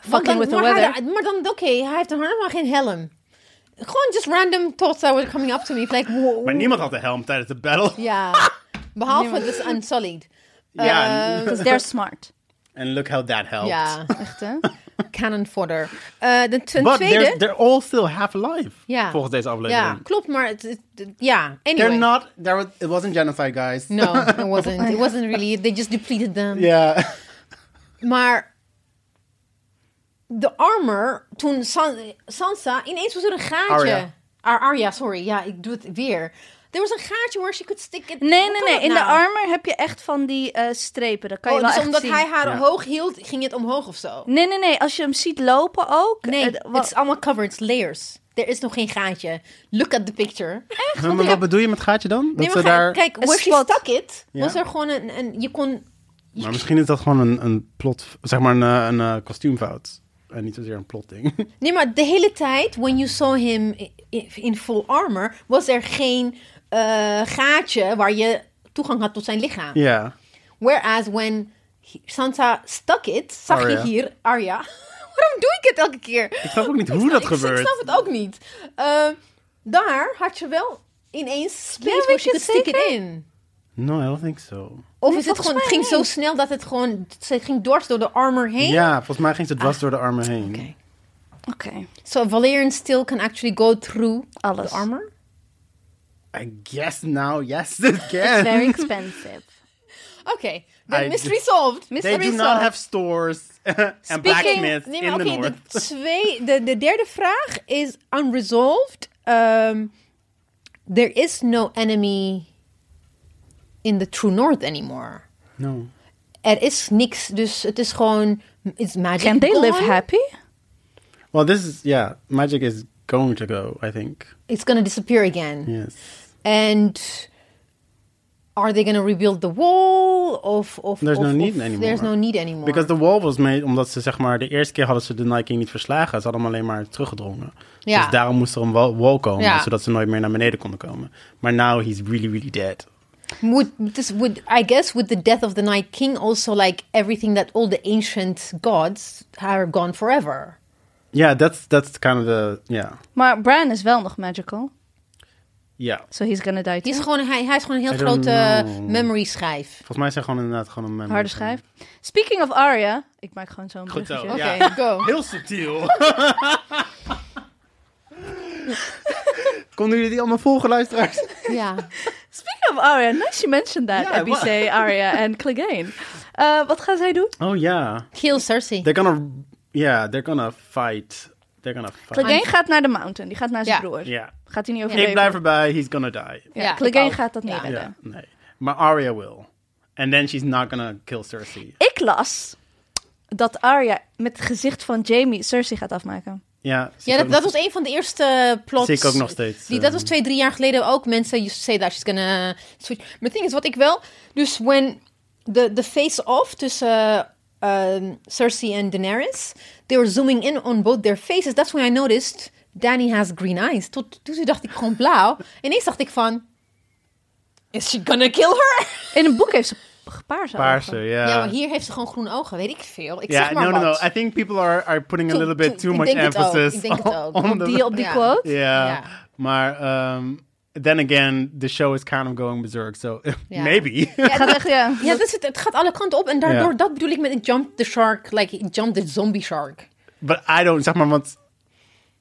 Speaker 3: want dan-
Speaker 1: with the
Speaker 3: maar
Speaker 1: weather.
Speaker 3: hij- maar dan, oké, hij heeft een harnas, maar geen helm. Gewoon just random thoughts that were coming up to me. Like, wow.
Speaker 2: maar niemand had de helm tijdens de battle. *laughs*
Speaker 3: Ja, behalve dus Unsullied.
Speaker 2: Ja, en- *laughs*
Speaker 1: Because they're smart.
Speaker 2: and look how that helped.
Speaker 3: Ehm, Ja,
Speaker 1: Echt, hè?
Speaker 3: cannon fodder. Eh, de ten
Speaker 2: But
Speaker 3: tweede...
Speaker 2: they're, they're all still half alive,
Speaker 3: Ja.
Speaker 2: volgens deze aflevering.
Speaker 3: Ja, klopt, maar het, het- het- ja, anyway.
Speaker 2: They're not, there was, it wasn't genocide, guys.
Speaker 3: No,
Speaker 2: *laughs*
Speaker 3: it wasn't. It wasn't really. They just depleted them.
Speaker 2: Yeah.
Speaker 3: Maar de armor, toen San- Sansa, ineens was er een gaatje.
Speaker 2: Arya.
Speaker 3: Ar- Arya, sorry. Ja, ik doe het weer. Er was een gaatje where she could stick it.
Speaker 1: Nee,
Speaker 3: Hoe
Speaker 1: nee,
Speaker 3: kan
Speaker 1: nee.
Speaker 3: dat
Speaker 1: In de
Speaker 3: nou?
Speaker 1: armor heb je echt van die eh, strepen. Dat kan je
Speaker 3: Oh,
Speaker 1: wel
Speaker 3: dus
Speaker 1: echt
Speaker 3: omdat
Speaker 1: zien.
Speaker 3: hij haar
Speaker 2: Ja.
Speaker 3: hoog hield, ging het omhoog of zo?
Speaker 1: Nee, nee, nee. Als je hem ziet lopen ook.
Speaker 3: Nee,
Speaker 1: eh,
Speaker 3: het
Speaker 1: wa-
Speaker 3: is allemaal covered. It's layers. Er is nog geen gaatje. Look at the picture.
Speaker 2: *laughs* Maar wat bedoel je met gaatje dan? Dat
Speaker 3: Nee,
Speaker 2: ze
Speaker 3: maar ga-
Speaker 2: daar...
Speaker 3: Kijk, where she
Speaker 1: Spot.
Speaker 3: stuck it,
Speaker 2: Ja.
Speaker 3: was er gewoon een... een je kon...
Speaker 2: Maar misschien is dat gewoon een, een plot, zeg maar een, eh, een, eh, kostuumfout. En niet zozeer een plotding.
Speaker 3: Nee, maar de hele tijd, when you saw him i- i- in full armor, was er geen eh, gaatje waar je toegang had tot zijn lichaam.
Speaker 2: *laughs* Ja.
Speaker 3: Whereas when he- Sansa stuck it, zag
Speaker 2: Arya.
Speaker 3: je hier Arya. *laughs* Waarom doe ik het elke keer?
Speaker 2: Oh, Ik snap ook niet hoe dat
Speaker 3: ik,
Speaker 2: gebeurt.
Speaker 3: Ik snap het ook niet. Eh, daar had je wel ineens space
Speaker 1: weet
Speaker 3: where she
Speaker 1: je
Speaker 3: could stick
Speaker 1: het
Speaker 3: it in.
Speaker 2: No, I don't think so.
Speaker 3: Of
Speaker 1: Nee, volgens
Speaker 3: is het gewoon, het
Speaker 1: mij
Speaker 3: ging
Speaker 1: niet.
Speaker 3: zo snel dat het gewoon, ze ging dwars door de armor heen?
Speaker 2: Ja, volgens mij ging ze dwars door de armen heen.
Speaker 3: Ah, Oké.
Speaker 1: Oké,
Speaker 2: Eh.
Speaker 3: So Valerian still can actually go through
Speaker 1: alles.
Speaker 3: the armor.
Speaker 2: I guess now, yes, *laughs* it can.
Speaker 1: It's *laughs* very expensive.
Speaker 3: Okay, then
Speaker 2: I-
Speaker 3: mystery solved.
Speaker 2: They
Speaker 1: Mystery
Speaker 2: do not
Speaker 1: solved.
Speaker 2: have stores *laughs* and blacksmiths
Speaker 3: nee,
Speaker 2: in
Speaker 3: maar
Speaker 2: the
Speaker 3: oké,
Speaker 2: north. *laughs*
Speaker 3: de, twee, de, de derde vraag is unresolved. Ehm, there is no enemy in the true north anymore.
Speaker 2: No.
Speaker 3: Er is niks, dus het is gewoon... It's magic
Speaker 1: Can they live
Speaker 3: gone.
Speaker 1: happy?
Speaker 2: Well, this is yeah. Magic is going to go. I think
Speaker 3: It's gonna disappear again.
Speaker 2: yes.
Speaker 3: And are they gonna rebuild the wall? Of, of,
Speaker 2: There's
Speaker 3: of-
Speaker 2: no
Speaker 3: of-
Speaker 2: need anymore.
Speaker 3: There's no need anymore.
Speaker 2: Because the wall was made omdat ze zeg maar de eerste keer hadden ze de Nike niet verslagen. Ze hadden hem alleen maar teruggedrongen.
Speaker 3: Ja.
Speaker 2: Dus daarom moest er een wall, wall komen,
Speaker 3: Ja.
Speaker 2: zodat ze nooit meer naar beneden konden komen. Maar now he's really really dead.
Speaker 3: would this would I guess with the death of the Night King also like everything that all the ancient gods are gone forever.
Speaker 2: Yeah, that's that's kind of the yeah
Speaker 1: Maar Bran is wel nog magical.
Speaker 2: yeah.
Speaker 1: So he's gonna die
Speaker 3: Die is
Speaker 1: too.
Speaker 3: gewoon, hij, hij is gewoon een heel
Speaker 2: I don't
Speaker 3: grote eh,
Speaker 2: know.
Speaker 3: memory schijf.
Speaker 2: Volgens mij zijn gewoon inderdaad gewoon een memory.
Speaker 1: Harde schijf. Speaking of Arya. Ik maak gewoon zo'n
Speaker 2: Goed zo.
Speaker 1: bruggetje.
Speaker 2: Ja.
Speaker 3: Oké, go.
Speaker 2: *laughs* Heel subtiel. Konden jullie die allemaal volgen, luisteraars?
Speaker 3: Ja.
Speaker 1: Speaking of Arya. Nice you mentioned that.
Speaker 2: Ja,
Speaker 1: Ebice, Arya en Clegane. Eh, wat gaan zij doen?
Speaker 2: Oh ja.
Speaker 3: Kill Cersei.
Speaker 2: They're gonna, yeah, they're gonna fight. They're gonna fight.
Speaker 1: Clegane gaat naar de mountain. Die gaat naar zijn
Speaker 3: Ja.
Speaker 1: broer.
Speaker 2: Ja.
Speaker 1: Gaat hij niet overleven?
Speaker 2: Ik blijf erbij, he's gonna die.
Speaker 1: Ja,
Speaker 3: Ja, ik
Speaker 1: Clegane
Speaker 3: ook.
Speaker 1: gaat dat niet
Speaker 3: Ja.
Speaker 2: Ja,
Speaker 1: redden.
Speaker 2: nee. Maar Arya will. And then she's not gonna kill Cersei.
Speaker 1: Ik las dat Arya met het gezicht van Jamie Cersei gaat afmaken.
Speaker 2: Ja, zie
Speaker 3: ja,
Speaker 2: ik
Speaker 3: dat,
Speaker 2: ook
Speaker 3: dat
Speaker 2: nog-
Speaker 3: was een van de eerste plots.
Speaker 2: Zie ik ook nog steeds,
Speaker 3: Die, dat
Speaker 2: eh.
Speaker 3: was twee, drie jaar geleden ook. Mensen used to say that she's gonna switch. Maar het ding is, wat ik wel... Dus when de de face-off tussen eh, ehm, Cersei en Daenerys... They were zooming in on both their faces. That's when I noticed Danny has green eyes. Tot toen dacht ik gewoon blauw. Ineens dacht ik van... Is she gonna kill her?
Speaker 1: In een boek heeft ze paarse
Speaker 2: Paarse,
Speaker 1: ogen.
Speaker 2: ja.
Speaker 3: ja, maar hier heeft ze gewoon groene ogen. Weet ik veel. Ik
Speaker 2: Ja,
Speaker 3: zeg maar
Speaker 2: no, no,
Speaker 3: wat.
Speaker 2: no. I think people are, are putting a
Speaker 3: Toe-
Speaker 2: little bit
Speaker 3: toe-
Speaker 2: too
Speaker 3: ik
Speaker 2: much
Speaker 3: denk het ook,
Speaker 2: emphasis
Speaker 3: ik denk het ook.
Speaker 2: *laughs* on
Speaker 1: Op
Speaker 2: the...
Speaker 1: die, op die
Speaker 3: Ja.
Speaker 1: quote.
Speaker 2: Yeah.
Speaker 3: Ja.
Speaker 2: Maar, um, then again, the show is kind of going berserk, so *laughs*
Speaker 3: Ja.
Speaker 2: maybe.
Speaker 1: Gaat echt, ja.
Speaker 3: *laughs* Ja, dat is het, het gaat alle kanten op. En daardoor,
Speaker 2: Ja.
Speaker 3: dat bedoel ik met een jump the shark. Like, jump the zombie shark.
Speaker 2: But I don't, zeg maar, want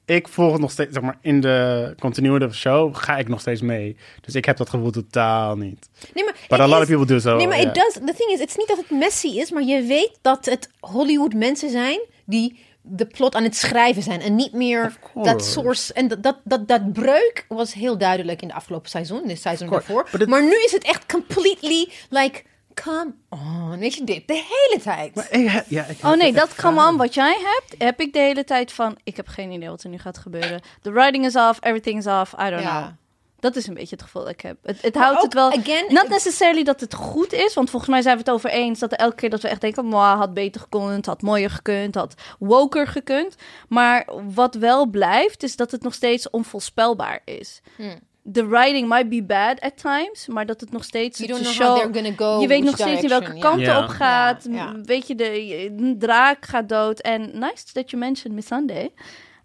Speaker 2: ik volg nog steeds, zeg maar, in de continuity of the show ga ik nog steeds mee. Dus ik heb dat gevoel totaal niet.
Speaker 3: Nee, maar
Speaker 2: But
Speaker 3: het
Speaker 2: a lot
Speaker 3: is-
Speaker 2: of people do so,
Speaker 3: Nee, maar
Speaker 2: yeah.
Speaker 3: it does, the thing is, het is niet dat het messy is, maar je weet dat het Hollywood mensen zijn die de plot aan het schrijven zijn. En niet meer
Speaker 2: course.
Speaker 3: dat source. En dat, dat, dat, dat breuk was heel duidelijk in de afgelopen seizoen, dit seizoen
Speaker 2: course,
Speaker 3: daarvoor.
Speaker 2: but it-
Speaker 3: Maar nu is het echt completely like, come on. Weet je dit? De hele tijd.
Speaker 2: Maar ik heb- ja, ik heb
Speaker 1: Oh nee,
Speaker 2: echt
Speaker 1: dat come on
Speaker 2: tranen.
Speaker 1: wat jij hebt, heb ik de hele tijd van... Ik heb geen idee wat er nu gaat gebeuren. The writing is off, everything is off, I don't
Speaker 3: Ja.
Speaker 1: know. Dat is een beetje het gevoel dat ik heb. Het, het houdt
Speaker 3: ook,
Speaker 1: het wel...
Speaker 3: again,
Speaker 1: not
Speaker 3: ik-
Speaker 1: necessarily dat het goed is, want volgens mij zijn we het over eens... dat er elke keer dat we echt denken, "Mwah, had beter gekund, had mooier gekund, had woker gekund. Maar wat wel blijft, is dat het nog steeds onvoorspelbaar is.
Speaker 3: Hmm.
Speaker 1: The writing might be bad at times, maar dat het nog steeds...
Speaker 3: You
Speaker 1: het
Speaker 3: don't
Speaker 1: is
Speaker 3: know how
Speaker 1: show-
Speaker 3: they're gonna go,
Speaker 1: je weet
Speaker 3: which
Speaker 1: nog steeds niet welke
Speaker 3: direction,
Speaker 1: kant
Speaker 2: ja.
Speaker 1: erop
Speaker 2: Ja.
Speaker 1: op gaat.
Speaker 3: Ja, ja.
Speaker 1: M, Weet je, de, een draak gaat dood. En nice that you mentioned Miss Sunday.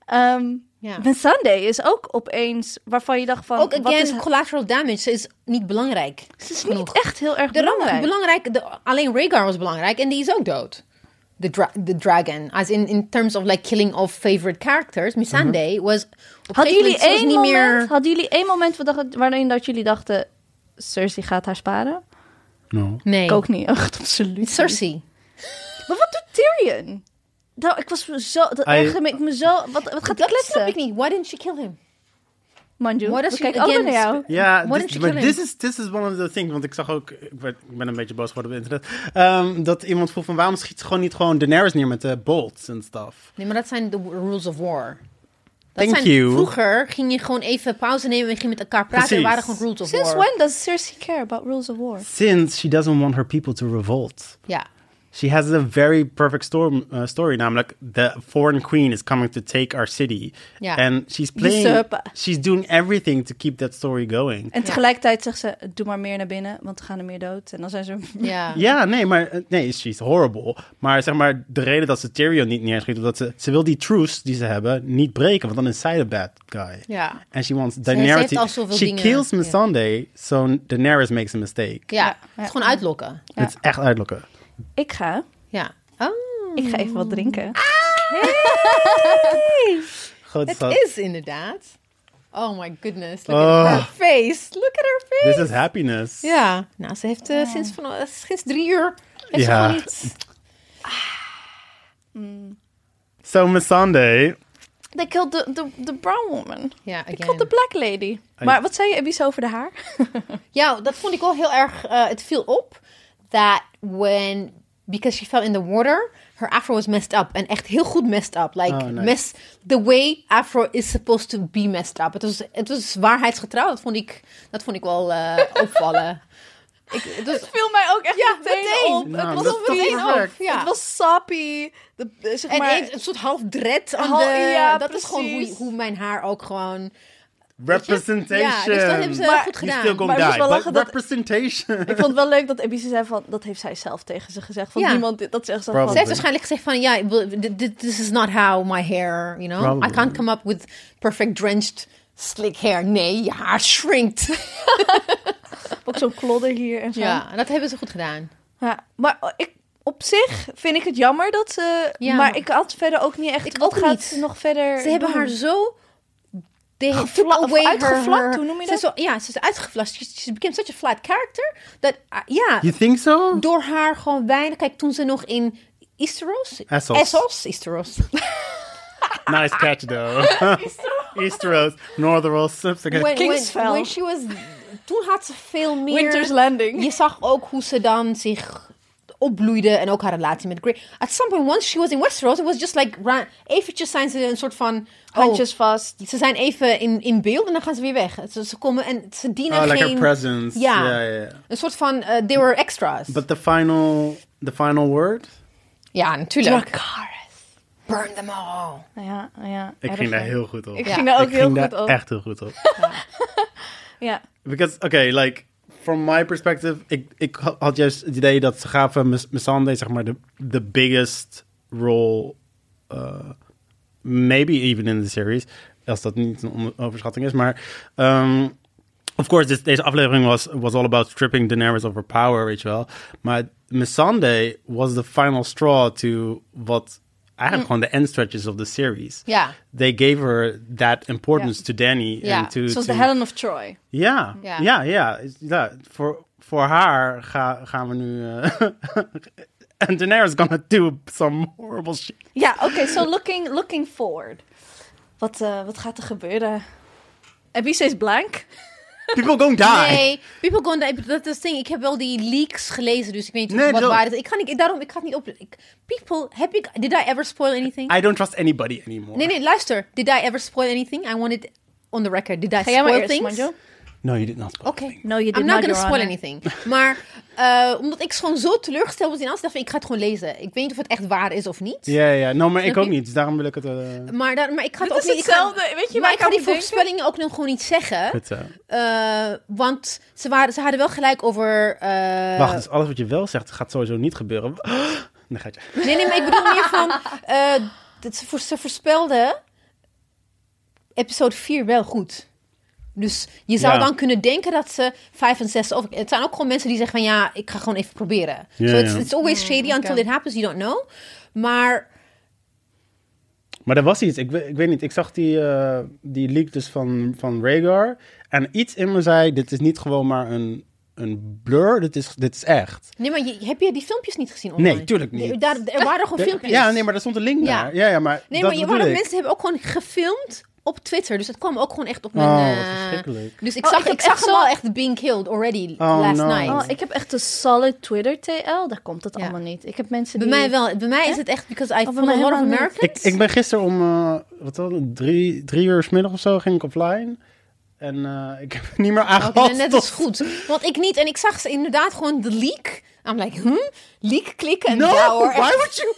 Speaker 1: Ehm
Speaker 3: Ja.
Speaker 1: Miss Sunday is ook opeens waarvan je dacht van...
Speaker 3: Ook
Speaker 1: wat
Speaker 3: again,
Speaker 1: is,
Speaker 3: collateral damage ze is niet belangrijk.
Speaker 1: ze is
Speaker 3: genoeg.
Speaker 1: niet echt heel erg
Speaker 3: De
Speaker 1: belangrijk.
Speaker 3: belangrijk. belangrijk de, alleen Rhaegar was belangrijk en die is ook dood. The, dra the dragon. As in, in terms of like killing of favorite characters. Missandei was... op een
Speaker 1: hadden,
Speaker 3: gegeven
Speaker 1: Mhm. jullie
Speaker 3: moment- ze was
Speaker 1: één moment, hadden jullie één moment waar dat- waarin dat jullie dachten... Cersei gaat haar sparen?
Speaker 2: No.
Speaker 3: Nee.
Speaker 1: Ik ook niet, echt absoluut niet.
Speaker 3: Cersei.
Speaker 1: Maar wat doet Tyrion? Nou, ik was me zo... Dat
Speaker 2: Hij-
Speaker 1: ergerde me, ik me zo... Wat, wat gaat
Speaker 3: Dat
Speaker 1: die
Speaker 3: snap ik
Speaker 1: kletsen?
Speaker 3: niet. Why didn't she kill him?
Speaker 1: Manju,
Speaker 3: What
Speaker 1: we
Speaker 3: does she-
Speaker 1: kijken allemaal naar
Speaker 3: again,
Speaker 1: jou.
Speaker 2: Ja,
Speaker 3: Why
Speaker 2: dit-
Speaker 3: don't you
Speaker 2: maar
Speaker 3: kill him?
Speaker 2: this is, this is one of the things. Want ik zag ook, ik, werd- ik ben een beetje boos geworden op het internet. ehm, dat iemand vroeg van waarom schiet ze gewoon niet gewoon Daenerys neer met de bolts en stuff.
Speaker 3: Nee, maar dat zijn de rules of war. Dat
Speaker 2: Thank
Speaker 3: zijn,
Speaker 2: you.
Speaker 3: Vroeger ging je gewoon even pauze nemen en ging met elkaar praten. Er
Speaker 2: Precies.
Speaker 3: waren gewoon rules of
Speaker 1: Since
Speaker 3: war.
Speaker 1: when does Cersei care about rules of war?
Speaker 2: Since she doesn't want her people to revolt.
Speaker 3: Ja.
Speaker 2: She has a very perfect storm, uh, story, namelijk the foreign queen is coming to take our city.
Speaker 3: Ja.
Speaker 2: And she's playing,
Speaker 1: Usurpen.
Speaker 2: she's doing everything to keep that story going.
Speaker 1: En tegelijkertijd zegt ze, doe maar meer naar binnen, want er gaan er meer dood. En dan zijn ze... "Hm,
Speaker 3: Ja.
Speaker 2: Ja, nee, maar eh, nee, she's horrible. Maar zeg maar, de reden dat ze Tyrion niet neerschiet, omdat ze, ze wil die truce die ze hebben niet breken, want dan is zij de bad guy.
Speaker 3: Ja.
Speaker 2: En she wants
Speaker 3: ze
Speaker 2: Daenerys.
Speaker 3: heeft al zoveel
Speaker 2: she
Speaker 3: dingen-
Speaker 2: kills
Speaker 3: ja.
Speaker 2: Missandei, so Daenerys makes a mistake.
Speaker 3: Ja. Het is gewoon uitlokken.
Speaker 2: Het is echt uitlokken.
Speaker 1: Ik ga,
Speaker 3: Ja. Oh.
Speaker 1: ik ga even wat drinken.
Speaker 3: Hey!
Speaker 2: Goed,
Speaker 3: Het
Speaker 2: schat.
Speaker 3: is inderdaad. Oh my goodness. Look
Speaker 2: Oh.
Speaker 3: at her face. Look at her face.
Speaker 2: This is happiness.
Speaker 3: Ja, nou, ze heeft eh, sinds, van, eh, sinds drie uur. Heeft
Speaker 2: Ja.
Speaker 3: ze gewoon iets.
Speaker 2: So, Miss Sunday.
Speaker 1: They killed the, the, the brown woman.
Speaker 3: Ja,
Speaker 1: They
Speaker 3: again.
Speaker 1: killed the black lady. Maar wat zei je, Ebis, over de haar?
Speaker 3: ja, dat vond ik wel heel erg. eh, het viel op that when because she fell in the water, her afro was messed up en echt heel goed messed up. Like
Speaker 2: Oh, nice.
Speaker 3: mess the way afro is supposed to be messed up. Het was, het was waarheidsgetrouw. Dat vond ik, dat vond ik wel eh, opvallen. *laughs* ik, het was,
Speaker 1: *laughs* viel mij ook echt
Speaker 3: Ja,
Speaker 1: meteen,
Speaker 3: meteen.
Speaker 1: op.
Speaker 2: Nou,
Speaker 1: het
Speaker 2: dat
Speaker 1: was
Speaker 2: is
Speaker 1: op
Speaker 2: toch
Speaker 1: meteen
Speaker 2: perfect.
Speaker 1: op.
Speaker 3: Ja.
Speaker 1: Het was sappy. De, eh, zeg
Speaker 3: en
Speaker 1: maar,
Speaker 3: eens een soort half dread aan
Speaker 1: Hal-
Speaker 3: de.
Speaker 1: ja,
Speaker 3: dat is gewoon hoe,
Speaker 1: precies.
Speaker 3: hoe mijn haar ook gewoon.
Speaker 2: Representation.
Speaker 3: Ja, dus dat hebben ze
Speaker 1: Maar-
Speaker 3: goed
Speaker 2: You
Speaker 3: gedaan.
Speaker 2: still gonna
Speaker 1: Maar het is
Speaker 2: die,
Speaker 1: wel
Speaker 2: but
Speaker 1: lachen dat-
Speaker 2: representation.
Speaker 1: ik vond het wel leuk dat Ebise zei van... Dat heeft zij zelf tegen ze gezegd. Van
Speaker 3: Ja.
Speaker 1: niemand... Dat zegt ze
Speaker 2: Probably.
Speaker 1: van...
Speaker 3: Ze heeft waarschijnlijk gezegd van ja, ik wil- dit- dit- this is not how my hair, you know.
Speaker 2: Probably.
Speaker 3: I can't come up with perfect drenched slick hair. Nee, je haar shrinkt.
Speaker 1: Ook zo'n klodder hier en zo.
Speaker 3: Ja, dat hebben ze goed gedaan.
Speaker 1: Ja, maar ik, op zich vind ik het jammer dat ze...
Speaker 3: Ja.
Speaker 1: Maar ik had verder ook niet echt...
Speaker 3: Ik
Speaker 1: wat
Speaker 3: ook
Speaker 1: gaat
Speaker 3: niet.
Speaker 1: ze nog verder
Speaker 3: Ze hebben
Speaker 1: doen?
Speaker 3: haar zo they
Speaker 1: Gevla-
Speaker 3: took
Speaker 1: of
Speaker 3: away her-
Speaker 1: uitgevlakt,
Speaker 3: her-
Speaker 1: hoe noem je
Speaker 3: Ze is zo- ja, ze is uitgevlakt. She, she became such a flat character dat ja,
Speaker 2: *laughs* You think so?
Speaker 3: door haar gewoon weinig. Kijk, toen ze nog in Isteros,
Speaker 2: Essos.
Speaker 3: Essos,
Speaker 2: *laughs*
Speaker 3: Isteros.
Speaker 2: *laughs* Nice catch, *laughs* though. Easteros, Northeros.
Speaker 3: When- when-
Speaker 1: Kingsfell.
Speaker 3: when she was, toen had ze veel meer.
Speaker 1: Winter's Landing.
Speaker 3: Je zag ook hoe ze dan zich opbloeide en ook haar relatie met Grey. At some point, once she was in Westeros, it was just like ra- eventjes zijn ze een soort van oh,
Speaker 1: Handjes vast.
Speaker 3: Ze zijn even in, in beeld en dan gaan ze weer weg. Ze, ze komen en ze dienen
Speaker 2: Oh, like her
Speaker 3: geen.
Speaker 2: presence.
Speaker 3: Ja.
Speaker 2: yeah, yeah.
Speaker 3: Een soort van eh, they were extras.
Speaker 2: But the final, the final word.
Speaker 3: ja, natuurlijk.
Speaker 1: Dracarys.
Speaker 3: Burn them all.
Speaker 1: Nou Ja, ja.
Speaker 2: Ik ging daar heel goed op.
Speaker 1: Ik
Speaker 2: Ik
Speaker 1: ging daar ook heel
Speaker 2: ging
Speaker 1: goed
Speaker 2: daar
Speaker 1: op.
Speaker 2: echt heel goed op.
Speaker 1: Ja.
Speaker 2: Because, okay, like, from my perspective, ik, ik ha- had juist het idee dat ze gaven Miss- Miss Sunday, zeg maar, de the biggest role, uh, maybe even in the series, als dat niet een on- overschatting is. Maar, ehm, of course, this, deze aflevering was, was all about stripping Daenerys of her power, weet je wel. Maar Miss Sunday was the final straw to wat eigenlijk
Speaker 1: Mm.
Speaker 2: gewoon de end stretches of the series.
Speaker 3: Ja.
Speaker 2: They gave her that importance
Speaker 1: Ja.
Speaker 2: to Danny
Speaker 3: Ja,
Speaker 2: and to...
Speaker 1: Zoals
Speaker 2: to-
Speaker 1: de Helen of Troy.
Speaker 2: ja,
Speaker 3: Ja.
Speaker 2: ja, ja. Is- ja. Voor, voor haar ga, gaan we nu... eh, *laughs* And Daenerys gonna do some horrible shit.
Speaker 1: Ja, oké,
Speaker 2: *laughs*
Speaker 1: so looking, looking forward. Wat, eh, wat gaat er gebeuren? Ebise is blank.
Speaker 2: People gonna die.
Speaker 3: Nee, people going die. Dat is het ding. Ik heb wel die leaks gelezen, dus ik weet niet
Speaker 2: Nee,
Speaker 3: wat
Speaker 2: dat-
Speaker 3: waar is. Ik ga niet, ik- daarom, ik ga het niet op. ik- people, heb ik, did I ever spoil anything?
Speaker 2: I don't trust anybody anymore.
Speaker 3: Nee, nee, luister. Did I ever spoil anything? I want it on the record. Did I
Speaker 1: Ga jij maar
Speaker 3: spoil
Speaker 1: eerst,
Speaker 3: things?
Speaker 1: Manjo?
Speaker 2: No, you did not. spoil
Speaker 3: Oké.
Speaker 1: No, you did
Speaker 3: I'm
Speaker 1: not,
Speaker 3: not
Speaker 1: Your
Speaker 3: gonna spoil
Speaker 1: Honor.
Speaker 3: anything. Maar eh, omdat ik gewoon zo teleurgesteld was in alles, dacht ik, ik ga het gewoon lezen. Ik weet niet of het echt waar is of niet.
Speaker 2: Ja, ja. No, maar ik
Speaker 3: Snap
Speaker 2: ook
Speaker 3: je?
Speaker 2: niet. Dus daarom wil ik het... eh
Speaker 3: Maar, daar, maar ik ga
Speaker 1: Dit
Speaker 3: het ook
Speaker 1: is
Speaker 3: niet... ik ga-
Speaker 1: hetzelfde, weet je waar
Speaker 3: maar
Speaker 1: ik
Speaker 3: ik ga
Speaker 1: aan
Speaker 3: die
Speaker 1: moet denken?
Speaker 3: voorspellingen ook nog gewoon niet zeggen.
Speaker 2: het, eh,
Speaker 3: Eh, want ze, waren, ze hadden wel gelijk over... eh,
Speaker 2: Wacht, dus alles wat je wel zegt gaat sowieso niet gebeuren. *gasps* Dan gaat je.
Speaker 3: Nee, nee, maar ik bedoel meer van... eh, dat ze, voor, ze voorspelde episode 4 wel goed. Dus je zou
Speaker 2: Ja.
Speaker 3: dan kunnen denken dat ze 5 en 6... Of, het zijn ook gewoon mensen die zeggen van... Ja, ik ga gewoon even proberen.
Speaker 2: Ja,
Speaker 3: so it's,
Speaker 2: ja.
Speaker 3: it's always shady until
Speaker 1: oké.
Speaker 3: it happens. You don't know. Maar
Speaker 2: Maar er was iets. Ik, we- ik weet niet. Ik zag die, eh, die leak dus van, van Rhaegar. En iets in me zei, dit is niet gewoon maar een, een blur. Dit is, dit is echt.
Speaker 3: nee, maar je, heb je die filmpjes niet gezien online?
Speaker 2: Nee, tuurlijk niet.
Speaker 3: Nee, Daar, er waren gewoon
Speaker 2: De-
Speaker 3: filmpjes.
Speaker 2: Ja, nee, maar daar stond een link
Speaker 3: Ja.
Speaker 2: naar. Ja, ja, maar
Speaker 3: Nee,
Speaker 2: dat
Speaker 3: maar je,
Speaker 2: bedoel
Speaker 3: waren
Speaker 2: ik.
Speaker 3: mensen hebben ook gewoon gefilmd op Twitter. Dus het kwam ook gewoon echt op mijn...
Speaker 2: Oh, wat
Speaker 3: eh,
Speaker 2: verschrikkelijk.
Speaker 3: dus ik
Speaker 1: Oh,
Speaker 3: zag,
Speaker 1: ik heb
Speaker 3: ik zag
Speaker 1: echt
Speaker 3: hem
Speaker 1: zo-
Speaker 3: al echt being killed already
Speaker 2: Oh,
Speaker 3: last
Speaker 2: no.
Speaker 3: night.
Speaker 1: Oh, ik heb echt een solid Twitter TL. Daar komt het
Speaker 3: Ja.
Speaker 1: allemaal niet. Ik heb mensen
Speaker 3: Bij
Speaker 1: die... Oh,
Speaker 3: mij wel. Bij mij is het echt because I
Speaker 1: bij
Speaker 3: follow
Speaker 1: mij
Speaker 3: a lot of
Speaker 1: helemaal niet.
Speaker 2: Ik,
Speaker 3: Americans.
Speaker 2: ik ben gisteren om eh, wat was het, drie, drie uur 's middag of zo ging ik offline. En eh, ik heb het niet meer aangehad.
Speaker 3: Oké, Oh, nou,
Speaker 2: *laughs*
Speaker 3: net
Speaker 2: tot-
Speaker 3: is goed. Want ik niet. En ik zag ze inderdaad gewoon de leak. I'm like, hm? Leak klikken en
Speaker 2: No,
Speaker 3: ja hoor.
Speaker 2: why would
Speaker 3: *laughs*
Speaker 2: you?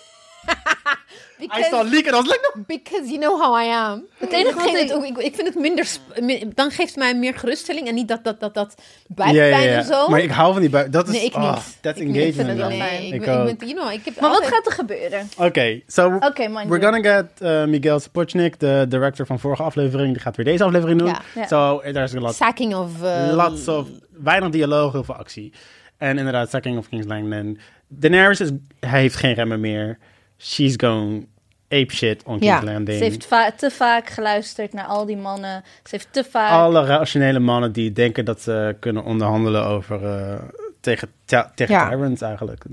Speaker 2: I
Speaker 3: Because,
Speaker 2: saw leak en I was like, no.
Speaker 3: because you know how I am. Het
Speaker 1: enige
Speaker 3: enige
Speaker 1: wat
Speaker 3: wat
Speaker 1: ik-
Speaker 3: ik, ik, ik vind het minder... sp- mi- Dan geeft het mij meer geruststelling. En niet dat dat, dat, dat
Speaker 2: Ja, ja,
Speaker 3: buikpijn
Speaker 2: ja.
Speaker 3: en zo.
Speaker 2: Maar ik hou van die buik. Dat is,
Speaker 3: nee, ik
Speaker 2: ah,
Speaker 3: niet.
Speaker 2: dat
Speaker 3: Ik niet.
Speaker 2: engagement.
Speaker 3: Ik vind het wel
Speaker 2: man.
Speaker 3: fijn. Ik,
Speaker 2: Ik
Speaker 3: ben- ik,
Speaker 2: ook.
Speaker 3: ben- you know, ik heb
Speaker 1: Maar wat
Speaker 3: altijd-
Speaker 1: gaat er gebeuren?
Speaker 2: Oké, so
Speaker 1: Oké, mind
Speaker 2: we're
Speaker 1: you.
Speaker 2: gonna get eh, Miguel Sapochnik, de director van vorige aflevering. Die gaat weer deze aflevering doen.
Speaker 3: Ja.
Speaker 1: Ja.
Speaker 2: So, eh, there's a lot
Speaker 3: Sacking of... eh,
Speaker 2: Lots of, weinig dialoog, heel veel actie. En inderdaad, Sacking of King's Landing. Daenerys is, hij heeft geen remmen meer. She's going ape shit on
Speaker 3: Ja,
Speaker 2: King Landing.
Speaker 1: Ze heeft va- te vaak geluisterd naar al die mannen. Ze heeft te vaak...
Speaker 2: Alle rationele mannen die denken dat ze kunnen onderhandelen over eh, tegen, ta- tegen
Speaker 3: Ja.
Speaker 2: tyrants eigenlijk.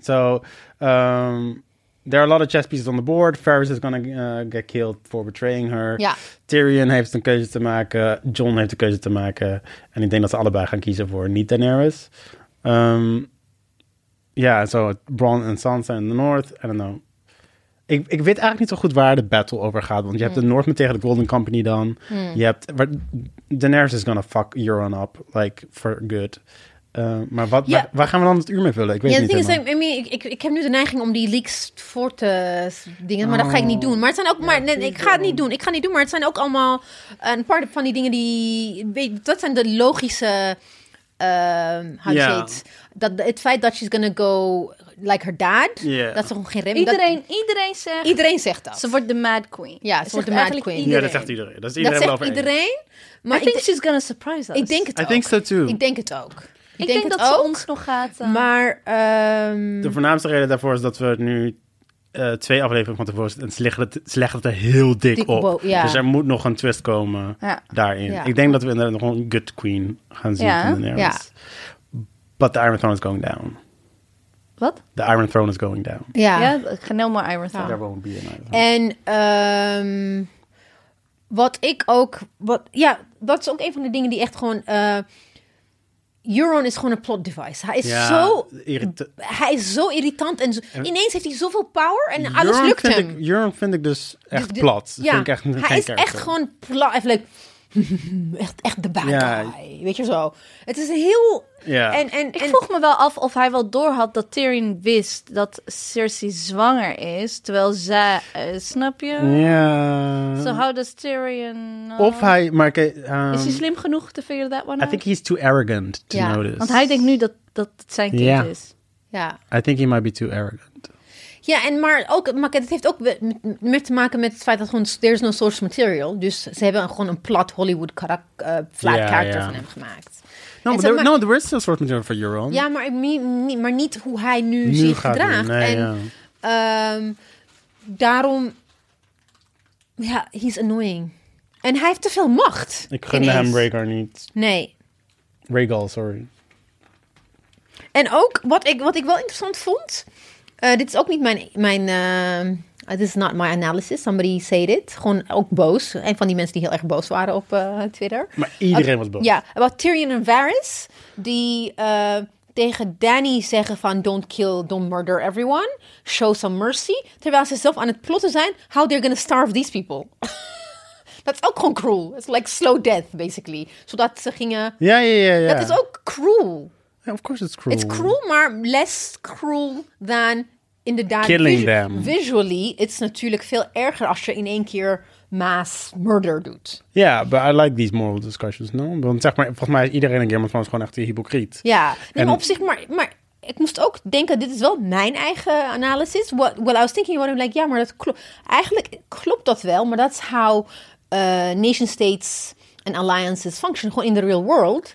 Speaker 2: So, um, there are a lot of chess pieces on the board. Ferris is gonna eh, get killed for betraying her.
Speaker 3: Ja.
Speaker 2: Tyrion heeft een keuze te maken. John heeft een keuze te maken. En ik denk dat ze allebei gaan kiezen voor niet Daenerys. Ehm, Ja, zo Bron en Sansa in de North. I don't know. Ik, ik weet eigenlijk niet zo goed waar de battle over gaat. Want je
Speaker 3: Hmm.
Speaker 2: hebt de Northmen tegen de Golden Company dan. Je hebt... waar- Daenerys is gonna fuck Euron up. Like, for good. Eh, maar wat,
Speaker 3: Ja.
Speaker 2: waar, waar gaan we dan het uur mee vullen? Ik weet
Speaker 3: Ja,
Speaker 2: het
Speaker 3: het
Speaker 2: niet
Speaker 3: ding is,
Speaker 2: helemaal.
Speaker 3: I mean, ik, ik, ik heb nu de neiging om die leaks voor te s- dingen, maar dat ga ik
Speaker 2: Oh.
Speaker 3: niet doen. Maar het zijn ook, maar nee, ik ga het niet doen. Ik ga het niet doen, maar het zijn ook allemaal een paar van die dingen die, weet, dat zijn de logische, ehm how to
Speaker 2: Ja.
Speaker 3: say it. dat het feit dat she's gonna go like her dad,
Speaker 2: Ja.
Speaker 3: dat is gewoon geen rem.
Speaker 1: iedereen, iedereen zegt...
Speaker 3: dat, iedereen zegt dat.
Speaker 1: Ze wordt de Mad Queen.
Speaker 3: Ja, ze
Speaker 1: Dat
Speaker 3: wordt de
Speaker 1: zegt
Speaker 3: Mad
Speaker 1: eigenlijk
Speaker 3: Queen. Ja,
Speaker 2: Ja,
Speaker 1: iedereen.
Speaker 2: dat zegt iedereen. Dat is
Speaker 3: dat
Speaker 2: iedereen wel
Speaker 3: zegt
Speaker 2: over eens.
Speaker 3: iedereen,
Speaker 1: Maar
Speaker 3: maar
Speaker 1: ik think
Speaker 3: ik,
Speaker 1: she's gonna surprise us.
Speaker 3: ik denk het
Speaker 2: I
Speaker 3: ook.
Speaker 2: think so too.
Speaker 3: Ik denk het ook. Ik,
Speaker 1: Ik denk,
Speaker 3: het
Speaker 1: dat
Speaker 3: ook,
Speaker 1: ze ons nog gaat... eh,
Speaker 3: maar ehm,
Speaker 2: De voornaamste reden daarvoor is dat we nu eh, twee afleveringen van tevoren zitten. En ze leggen het, ze leggen het er heel dik,
Speaker 3: Dik
Speaker 2: op.
Speaker 3: bo- ja.
Speaker 2: Dus er moet nog een twist komen
Speaker 1: Ja.
Speaker 2: daarin.
Speaker 3: Ja.
Speaker 2: Ik denk dat we inderdaad nog een good queen gaan zien
Speaker 1: Ja.
Speaker 2: van de Daenerys. But the Iron Throne is going down.
Speaker 1: Wat?
Speaker 2: The Iron Throne is going down.
Speaker 1: Ja,
Speaker 3: ja.
Speaker 1: Genel maar Iron Throne.
Speaker 2: There won't be an Iron Throne.
Speaker 3: En ehm, wat ik ook. Wat, ja, dat is ook een van de dingen die echt gewoon. eh Euron is gewoon een plot device. Hij is,
Speaker 2: Ja,
Speaker 3: zo,
Speaker 2: irrita-
Speaker 3: hij is zo irritant. En zo, ineens heeft hij zoveel power en alles
Speaker 2: Euron
Speaker 3: lukt
Speaker 2: vind
Speaker 3: hem.
Speaker 2: Ik, Euron vind ik dus echt
Speaker 3: Dus de-
Speaker 2: plat. Dat
Speaker 3: ja,
Speaker 2: vind ik echt, geen
Speaker 3: hij is echt
Speaker 2: character.
Speaker 3: gewoon plat. Even leuk. *laughs* Echt, echt de bad
Speaker 2: Ja.
Speaker 3: guy. Weet je zo. Het is heel...
Speaker 2: Ja.
Speaker 3: En, en,
Speaker 1: Ik
Speaker 3: en-
Speaker 1: vroeg me wel af of hij wel door had dat Tyrion wist dat Cersei zwanger is, terwijl zij... eh, snap je?
Speaker 2: Ja.
Speaker 1: So how does Tyrion... know?
Speaker 2: Mm. Of hij... Maar, oké, ehm,
Speaker 1: Is hij slim genoeg to figure that one
Speaker 2: I
Speaker 1: out?
Speaker 2: think he's too arrogant to
Speaker 3: Ja,
Speaker 2: notice.
Speaker 1: Want hij denkt nu dat, dat het zijn kind
Speaker 2: Ja.
Speaker 1: is.
Speaker 3: Ja.
Speaker 2: I think he might be too arrogant.
Speaker 3: Ja, en maar ook, maar het heeft ook met, met te maken met het feit dat gewoon there's no source material. Dus ze hebben gewoon een plat Hollywood karak, eh, flat
Speaker 2: Ja,
Speaker 3: character
Speaker 2: ja.
Speaker 3: van hem gemaakt.
Speaker 2: No, but
Speaker 3: En zeg
Speaker 2: there,
Speaker 3: maar-
Speaker 2: no, there is still source material for Euron.
Speaker 3: Ja, maar, ik meen niet- maar niet hoe hij nu,
Speaker 2: Nu
Speaker 3: zich
Speaker 2: gaat hij,
Speaker 3: gedraagt.
Speaker 2: nee,
Speaker 3: en ehm, daarom, ja, he's annoying. En hij heeft te veel macht.
Speaker 2: Ik gunde
Speaker 3: ineens.
Speaker 2: hem Rhaegar niet.
Speaker 3: Nee.
Speaker 2: Rhaegal, sorry.
Speaker 3: En ook, wat ik, wat ik wel interessant vond. eh, dit is ook niet mijn. mijn eh, this is not my analysis. Somebody said it. Gewoon ook boos. Een van die mensen die heel erg boos waren op eh, Twitter.
Speaker 2: Maar iedereen was boos.
Speaker 3: Ja, wat Tyrion en Varys. Die eh, tegen Danny zeggen van... Don't kill, don't murder everyone. Show some mercy. Terwijl ze zelf aan het plotten zijn... How they're gonna starve these people. *laughs* Dat is ook gewoon cruel. It's like slow death, basically. Zodat ze gingen...
Speaker 2: Ja, ja, ja. ja.
Speaker 3: Dat is ook cruel.
Speaker 2: Yeah, of course it's cruel.
Speaker 3: It's cruel, maar less cruel dan inderdaad...
Speaker 2: Killing
Speaker 3: visu-
Speaker 2: them.
Speaker 3: Visually, it's natuurlijk veel erger als je in één keer mass murder doet.
Speaker 2: Ja, but I like these moral discussions, no? Want zeg maar, volgens mij is iedereen in Game of Thrones gewoon echt een hypocriet.
Speaker 3: Ja, nee,
Speaker 2: En-
Speaker 3: maar op zich, maar, maar ik moest ook denken, dit is wel mijn eigen analysis. What, well, I was thinking about it, like, ja, maar dat klopt. Eigenlijk klopt dat wel, maar that's how eh, nation states en alliances function, gewoon in the real world.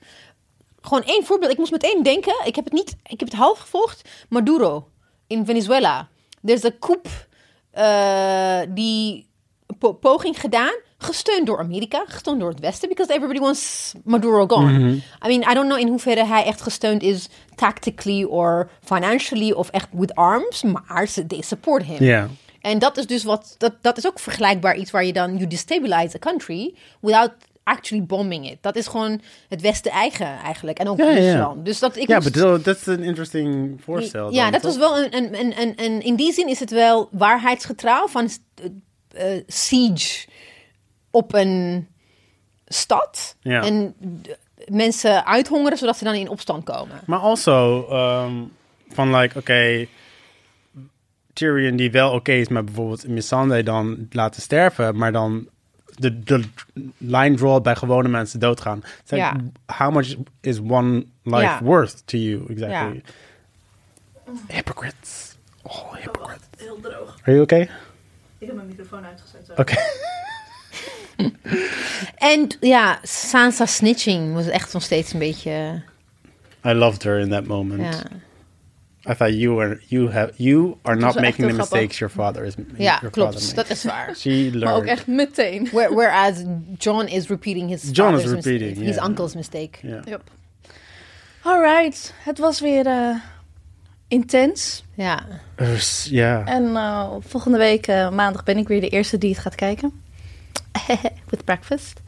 Speaker 3: Gewoon één voorbeeld. Ik moest meteen denken, ik heb het niet, ik heb het half gevolgd. Maduro in Venezuela. Er is een coup eh, die po- poging gedaan, gesteund door Amerika, gesteund door het Westen, because everybody wants Maduro gone. I mean, I don't know in hoeverre hij echt gesteund is tactically or financially of echt with arms, maar ze they support him.
Speaker 2: Ja.
Speaker 3: En dat is dus wat, dat, dat is ook vergelijkbaar iets waar je dan, you destabilize a country without actually bombing it. Dat is gewoon het Westen eigen eigenlijk. En ook
Speaker 2: Ja, ja, ja.
Speaker 3: Rusland. Dus dat ik
Speaker 2: Ja,
Speaker 3: moest-
Speaker 2: but still, that's an interesting voorstel.
Speaker 3: ja,
Speaker 2: dan,
Speaker 3: dat
Speaker 2: toch?
Speaker 3: was wel een, een, een, een, een- In die zin is het wel waarheidsgetrouw van eh, eh, siege op een stad.
Speaker 2: Ja.
Speaker 3: En eh, mensen uithongeren zodat ze dan in opstand komen.
Speaker 2: Maar also, ehm, van like, oké, Tyrion die wel oké is met bijvoorbeeld Missandei dan laten sterven, maar dan de, de line draw bij gewone mensen doodgaan. It's like,
Speaker 3: Ja.
Speaker 2: How much is one life
Speaker 3: Ja.
Speaker 2: worth to you, exactly? Hypocrites. Oh, hypocrites.
Speaker 4: Heel droog.
Speaker 2: Are you okay?
Speaker 4: Ik heb mijn microfoon uitgezet. sorry.
Speaker 2: Okay.
Speaker 3: En ja, Sansa snitching was echt nog steeds een beetje...
Speaker 2: I loved her in that moment.
Speaker 3: Ja.
Speaker 2: I thought you are you have you are
Speaker 3: is
Speaker 2: not
Speaker 3: wel
Speaker 2: making
Speaker 3: echt
Speaker 2: the
Speaker 3: heel
Speaker 2: mistakes your father is.
Speaker 3: Ja,
Speaker 2: your father
Speaker 3: klopt.
Speaker 2: makes.
Speaker 3: Dat
Speaker 2: *laughs*
Speaker 3: is waar.
Speaker 2: She
Speaker 1: Maar ook
Speaker 2: learned.
Speaker 1: echt meteen.
Speaker 3: Where- Whereas John is repeating his
Speaker 2: John is
Speaker 3: father's mistake,
Speaker 2: repeating,
Speaker 3: his
Speaker 2: yeah.
Speaker 3: uncle's mistake.
Speaker 2: Ja.
Speaker 1: Yep. Alright, het was weer eh, intens.
Speaker 3: Ja.
Speaker 2: Dus, ja.
Speaker 1: En eh, volgende week, eh, maandag, ben ik weer de eerste die het gaat kijken. *laughs* With breakfast.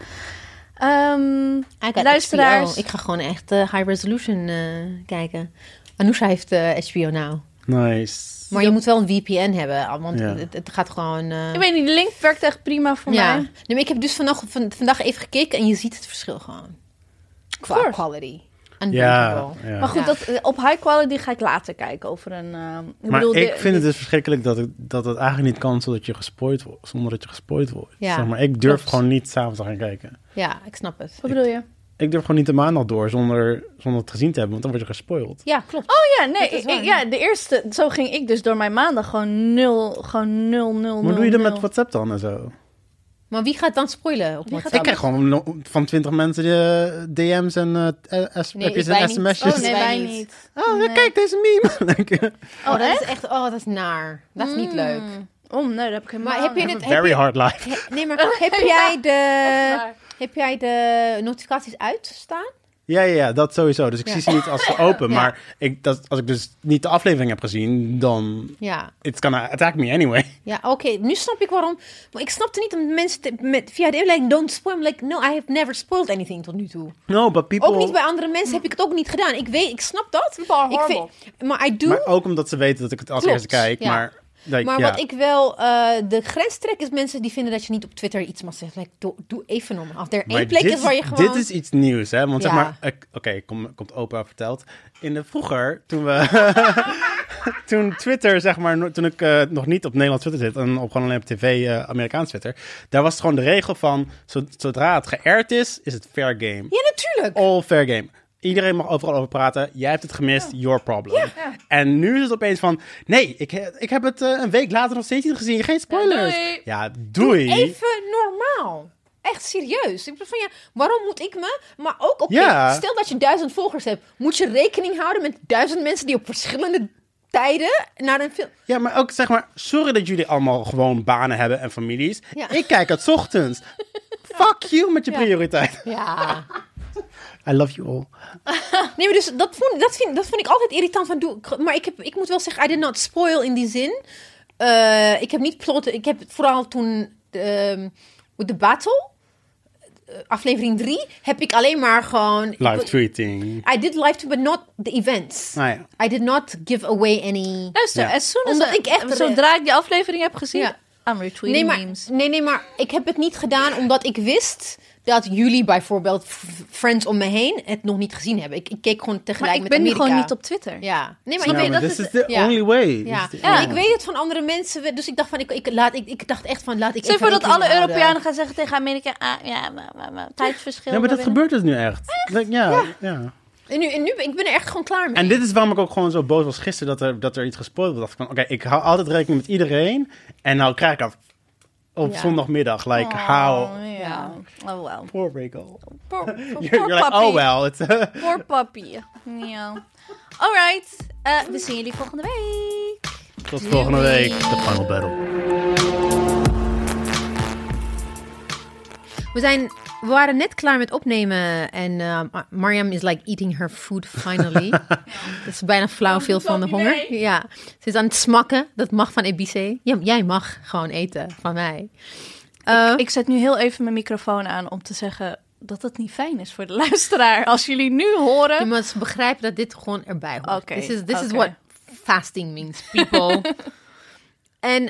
Speaker 1: Ehm
Speaker 3: I got
Speaker 1: luisteraars.
Speaker 3: HBO. Ik ga gewoon echt eh, high resolution eh, kijken. Anousha heeft eh, HBO nou.
Speaker 2: Nice.
Speaker 3: Maar je moet wel een VPN hebben, ah, want
Speaker 2: Ja.
Speaker 3: het, het gaat gewoon... eh,
Speaker 1: Ik weet niet, de link werkt echt prima voor
Speaker 3: ja.
Speaker 1: mij.
Speaker 3: Nee, maar ik heb dus vandaag, van, vandaag even gekeken en je ziet het verschil gewoon. Qua
Speaker 1: course.
Speaker 3: quality.
Speaker 2: Ja.
Speaker 3: Unbreakable.
Speaker 2: ja.
Speaker 1: Maar goed,
Speaker 3: Ja.
Speaker 1: dat, eh, op high quality ga ik later kijken over een... ehm, ik
Speaker 2: Maar
Speaker 1: bedoel,
Speaker 2: ik
Speaker 1: de-
Speaker 2: vind het dus verschrikkelijk dat, het- dat het eigenlijk niet kan zodat je gespoord wordt, zonder dat je gespoord wordt.
Speaker 3: Ja,
Speaker 2: Zeg maar, ik durf
Speaker 3: klopt.
Speaker 2: gewoon niet s'avonds te gaan kijken.
Speaker 3: Ja, ik snap het.
Speaker 1: Wat bedoel je?
Speaker 2: Ik durf gewoon niet de maandag door zonder, zonder het gezien te hebben, want dan word je gespoild.
Speaker 3: Ja, klopt.
Speaker 1: Oh ja, nee,
Speaker 3: Dat is
Speaker 1: ik-
Speaker 3: waar.
Speaker 1: ik- ja, de eerste, zo ging ik dus door mijn maandag gewoon nul, gewoon nul, nul,
Speaker 2: Maar
Speaker 1: nul,
Speaker 2: doe je dat
Speaker 1: nul.
Speaker 2: met WhatsApp dan en zo?
Speaker 3: Maar wie gaat dan spoilen op WhatsApp?
Speaker 2: Ik krijg gewoon no- van twintig mensen de DM's en eh, eh, s-
Speaker 3: Nee,
Speaker 2: appjes
Speaker 3: wij
Speaker 2: en
Speaker 3: niet.
Speaker 2: sms'jes.
Speaker 1: Oh nee,
Speaker 3: Wij
Speaker 1: wij
Speaker 3: niet.
Speaker 1: niet.
Speaker 2: Oh,
Speaker 1: Nee.
Speaker 2: kijk deze meme. *laughs* Denk je,
Speaker 3: Oh, dat is echt... Oh, dat is naar. Dat is niet leuk.
Speaker 1: Oh nee, dat heb ik helemaal
Speaker 3: Maar heb je het... Heb
Speaker 2: Very
Speaker 3: je,
Speaker 2: hard life.
Speaker 3: he- nee, maar *laughs* heb jij de... Heb jij de notificaties uitstaan?
Speaker 2: Ja, ja, ja, dat sowieso. Dus ik zie ze niet als ze open.
Speaker 3: Ja.
Speaker 2: Maar ik, dat, als ik dus niet de aflevering heb gezien, dan...
Speaker 3: Ja.
Speaker 2: It's gonna attack me anyway.
Speaker 3: Ja, oké. Nu snap ik waarom. Maar ik snapte niet om mensen te- met, via de inleiding don't spoil. I'm Like, no, I have never spoiled anything tot nu toe.
Speaker 2: No, but people...
Speaker 3: Ook niet bij andere mensen heb ik het ook niet gedaan. Ik weet, ik snap dat. Ik
Speaker 1: horrible.
Speaker 3: vind, maar I do.
Speaker 2: Maar
Speaker 3: Maar,
Speaker 2: ook omdat ze weten dat ik het als
Speaker 3: Klopt,
Speaker 2: eerste kijk.
Speaker 3: ja.
Speaker 2: Maar, like, ja.
Speaker 3: wat ik wel eh, de grens trek is mensen die vinden dat je niet op Twitter iets mag zeggen. Like, doe, doe even normaal. Als er
Speaker 2: Maar
Speaker 3: één plek
Speaker 2: dit,
Speaker 3: is waar je gewoon.
Speaker 2: Dit is iets nieuws, hè? Want zeg
Speaker 3: Ja.
Speaker 2: maar... ik- Oké, kom, komt opa verteld. In de vroeger, toen we... *laughs* toen Twitter, zeg maar, no- toen ik eh, nog niet op Nederlands Twitter zit en op gewoon alleen op tv eh, Amerikaans Twitter, daar was het gewoon de regel van, zo- zodra het geërd is, is het fair game.
Speaker 3: Ja, natuurlijk.
Speaker 2: All fair game. Iedereen mag overal over praten. Jij hebt het gemist. Your problem. En nu is het opeens van... Nee, ik, he- ik heb het eh, een week later nog steeds niet gezien. Geen spoilers.
Speaker 1: Ja, doei.
Speaker 2: Ja, doei.
Speaker 3: Even normaal. Echt serieus. Ik bedoel van ja, waarom moet ik me? Maar ook oké,
Speaker 2: Ja.
Speaker 3: stel dat je duizend volgers hebt, moet je rekening houden met duizend mensen die op verschillende tijden naar een film.
Speaker 2: Ja, maar ook zeg maar... Sorry dat jullie allemaal gewoon banen hebben en families.
Speaker 3: Ja.
Speaker 2: Ik kijk het 's ochtends. Fuck you met je
Speaker 3: Ja.
Speaker 2: prioriteit.
Speaker 3: Ja.
Speaker 2: I love you all.
Speaker 3: Nee, maar dus dat vond, dat, vind, dat vond ik altijd irritant van doe. Maar ik, heb, ik moet wel zeggen, I did not spoil in die zin. Eh, ik heb niet plotten. Ik heb vooral toen ehm, met de battle. eh, Aflevering 3 heb ik alleen maar gewoon.
Speaker 2: Live tweeting.
Speaker 3: I did live, but not the events.
Speaker 2: Nou ja.
Speaker 3: I did not give away any.
Speaker 1: Luister,
Speaker 2: Ja.
Speaker 1: as soon as
Speaker 3: Omdat ik echt-
Speaker 1: zodra ik die aflevering heb gezien,
Speaker 3: Ja.
Speaker 1: I'm retweeting
Speaker 3: Nee maar,
Speaker 1: memes.
Speaker 3: nee, nee, maar ik heb het niet gedaan omdat ik wist dat jullie bijvoorbeeld f- friends om me heen het nog niet gezien hebben. Ik, ik keek gewoon
Speaker 1: Maar
Speaker 3: tegelijk
Speaker 1: ik
Speaker 3: met
Speaker 1: ben nu
Speaker 3: Amerika.
Speaker 1: gewoon niet op Twitter.
Speaker 3: Ja. Nee, maar
Speaker 2: No,
Speaker 3: ik
Speaker 2: Nou,
Speaker 3: weet
Speaker 2: maar
Speaker 3: dat
Speaker 2: this
Speaker 3: is
Speaker 2: is the
Speaker 3: ja.
Speaker 2: only way. This
Speaker 3: Ja.
Speaker 2: is the
Speaker 1: Ja.
Speaker 2: only
Speaker 3: Ik weet het van andere mensen, dus ik dacht van ik, ik, laat, ik, ik dacht echt van laat ik.
Speaker 1: Stel je
Speaker 3: even
Speaker 1: voor dat
Speaker 3: rekening
Speaker 1: alle
Speaker 3: houden.
Speaker 1: Europeanen gaan zeggen tegen Amerika, ah, ja, maar, maar, maar, tijdverschil.
Speaker 2: Ja, maar dat
Speaker 1: we
Speaker 2: gebeurt dus nu echt. Like, ja. ja.
Speaker 3: En nu, en nu ik ben er echt gewoon klaar mee.
Speaker 2: En dit is waarom ik ook gewoon zo boos was gisteren dat er, dat er iets gespoild werd. Dacht ik van, Oké, ik hou altijd rekening met iedereen. En nou krijg ik af op
Speaker 3: Ja.
Speaker 2: zondagmiddag, like,
Speaker 1: winnen.
Speaker 2: how...
Speaker 1: Oh,
Speaker 3: Ja.
Speaker 1: ja. Oh, well.
Speaker 2: Poor Rachel. *laughs*
Speaker 1: Poor, poor, poor
Speaker 2: You're, you're like,
Speaker 1: puppy.
Speaker 2: oh well. It's,
Speaker 1: Poor puppy. Ja. All right. Eh, we zien jullie volgende week.
Speaker 2: *laughs* Tot volgende week, de final battle.
Speaker 3: We, zijn, we waren net klaar met opnemen en ehm, Mar- Mariam is like eating her food
Speaker 1: *laughs*
Speaker 3: finally. Het is bijna flauw veel van de
Speaker 4: niet
Speaker 3: honger.
Speaker 4: mee.
Speaker 3: Ja, ze is aan het smakken. Dat mag van Ebice. Ja, jij mag gewoon eten van mij. Eh,
Speaker 1: Ik zet nu heel even mijn microfoon aan om te zeggen dat het niet fijn is voor de luisteraar. Als jullie nu
Speaker 3: je
Speaker 1: horen.
Speaker 3: moet begrijpen dat dit gewoon erbij hoort.
Speaker 1: Oké,
Speaker 3: This is, this is
Speaker 1: oké.
Speaker 3: what fasting means,
Speaker 1: *laughs*
Speaker 3: people. en eh,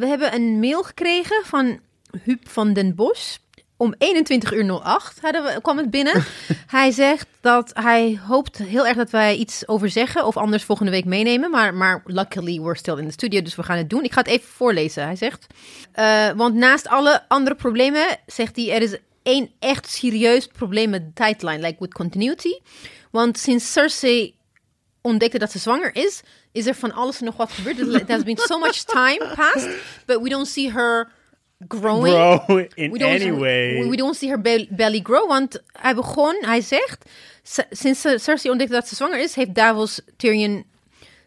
Speaker 3: we hebben een mail gekregen van Huub van den Bosch. Om 21 uur 08 hadden we, kwam het binnen. *laughs* hij zegt dat hij hoopt heel erg dat wij iets over zeggen. Of anders volgende week meenemen. Maar, maar luckily we're still in the studio. Dus we gaan het doen. Ik ga het even voorlezen. Hij zegt. eh, want naast alle andere problemen zegt hij er is één echt serieus probleem met de timeline. Like with continuity. Want sinds Cersei ontdekte dat ze zwanger is, is er van alles en nog wat gebeurd. There has been so much time passed, but we don't see her growing.
Speaker 2: Bro, *laughs* in
Speaker 3: we don't,
Speaker 2: any way.
Speaker 3: we, we don't see her bel- belly grow, want hij begon, hij zegt, s- sinds Cer- Cersei ontdekte dat ze zwanger is, heeft Davos Tyrion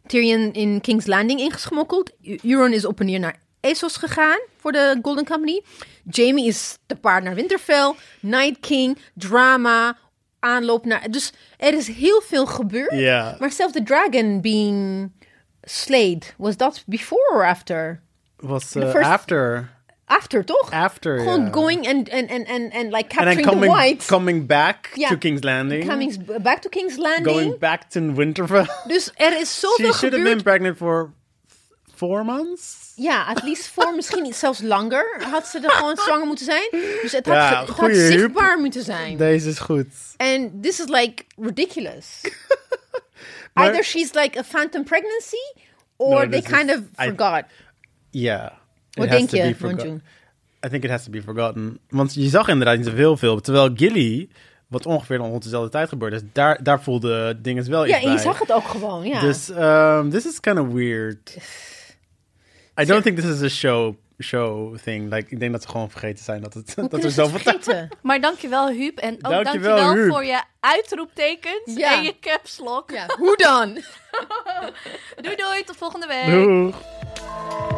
Speaker 3: Tyrion in King's Landing ingesmokkeld. Eu- Euron is op en neer naar Essos gegaan voor de Golden Company. Jamie is te paard naar Winterfell. Night King, drama, aanloop naar... Dus er is heel veel gebeurd.
Speaker 2: Ja.
Speaker 3: Maar zelfs de dragon being slayed, was dat before or after?
Speaker 2: Was
Speaker 3: The
Speaker 2: eh,
Speaker 3: first-
Speaker 2: after.
Speaker 3: After, toch?
Speaker 2: After,
Speaker 3: Gewoon
Speaker 2: ja.
Speaker 3: going and, and, and, and, and
Speaker 2: En
Speaker 3: like capturing the
Speaker 2: coming,
Speaker 3: whites.
Speaker 2: coming back
Speaker 3: Ja.
Speaker 2: to King's Landing.
Speaker 3: Coming s- back to King's Landing.
Speaker 2: going back to Winterfell.
Speaker 3: *laughs* Dus er is
Speaker 2: She
Speaker 3: zoveel
Speaker 2: should have been
Speaker 3: gebeurd.
Speaker 2: pregnant for four months?
Speaker 3: Ja, at least voor misschien niet zelfs langer had ze er gewoon zwanger moeten zijn. Dus het had,
Speaker 2: Ja,
Speaker 3: ge- het had
Speaker 2: goeie hup.
Speaker 3: zichtbaar moeten zijn.
Speaker 2: Deze is goed.
Speaker 3: En this is like
Speaker 2: *laughs*
Speaker 3: ridiculous.
Speaker 2: Maar-
Speaker 3: Either she's like a phantom pregnancy, or
Speaker 2: No,
Speaker 3: they
Speaker 2: this is-
Speaker 3: kind of
Speaker 2: I-
Speaker 3: forgot.
Speaker 2: Ja. It
Speaker 3: Wat
Speaker 2: has
Speaker 3: denk
Speaker 2: to
Speaker 3: je,
Speaker 2: be forgo-
Speaker 3: Manjoen?
Speaker 2: I think it has to be forgotten. Want je zag inderdaad niet zoveel veel. Terwijl Gilly, wat ongeveer rond dezelfde tijd gebeurde, is, daar, daar voelde dingen wel
Speaker 3: Ja,
Speaker 2: iets
Speaker 3: en je
Speaker 2: bij.
Speaker 3: zag het ook gewoon, ja.
Speaker 2: Dus ehm, this is kind of
Speaker 3: *sighs*
Speaker 2: weird. I don't think this is a show, show thing. Like, ik denk dat ze gewoon vergeten zijn dat, het, dat
Speaker 3: Kunnen
Speaker 2: er
Speaker 3: ze het
Speaker 2: zoveel tijd...
Speaker 3: vergeten?
Speaker 1: Maar dankjewel Huub en ook
Speaker 2: Dankjewel,
Speaker 1: dankjewel,
Speaker 2: Huub.
Speaker 1: voor je uitroeptekens
Speaker 3: Ja.
Speaker 1: en je caps lock.
Speaker 3: Ja, hoe dan?
Speaker 1: Doei doei, tot volgende week.
Speaker 2: Doeg.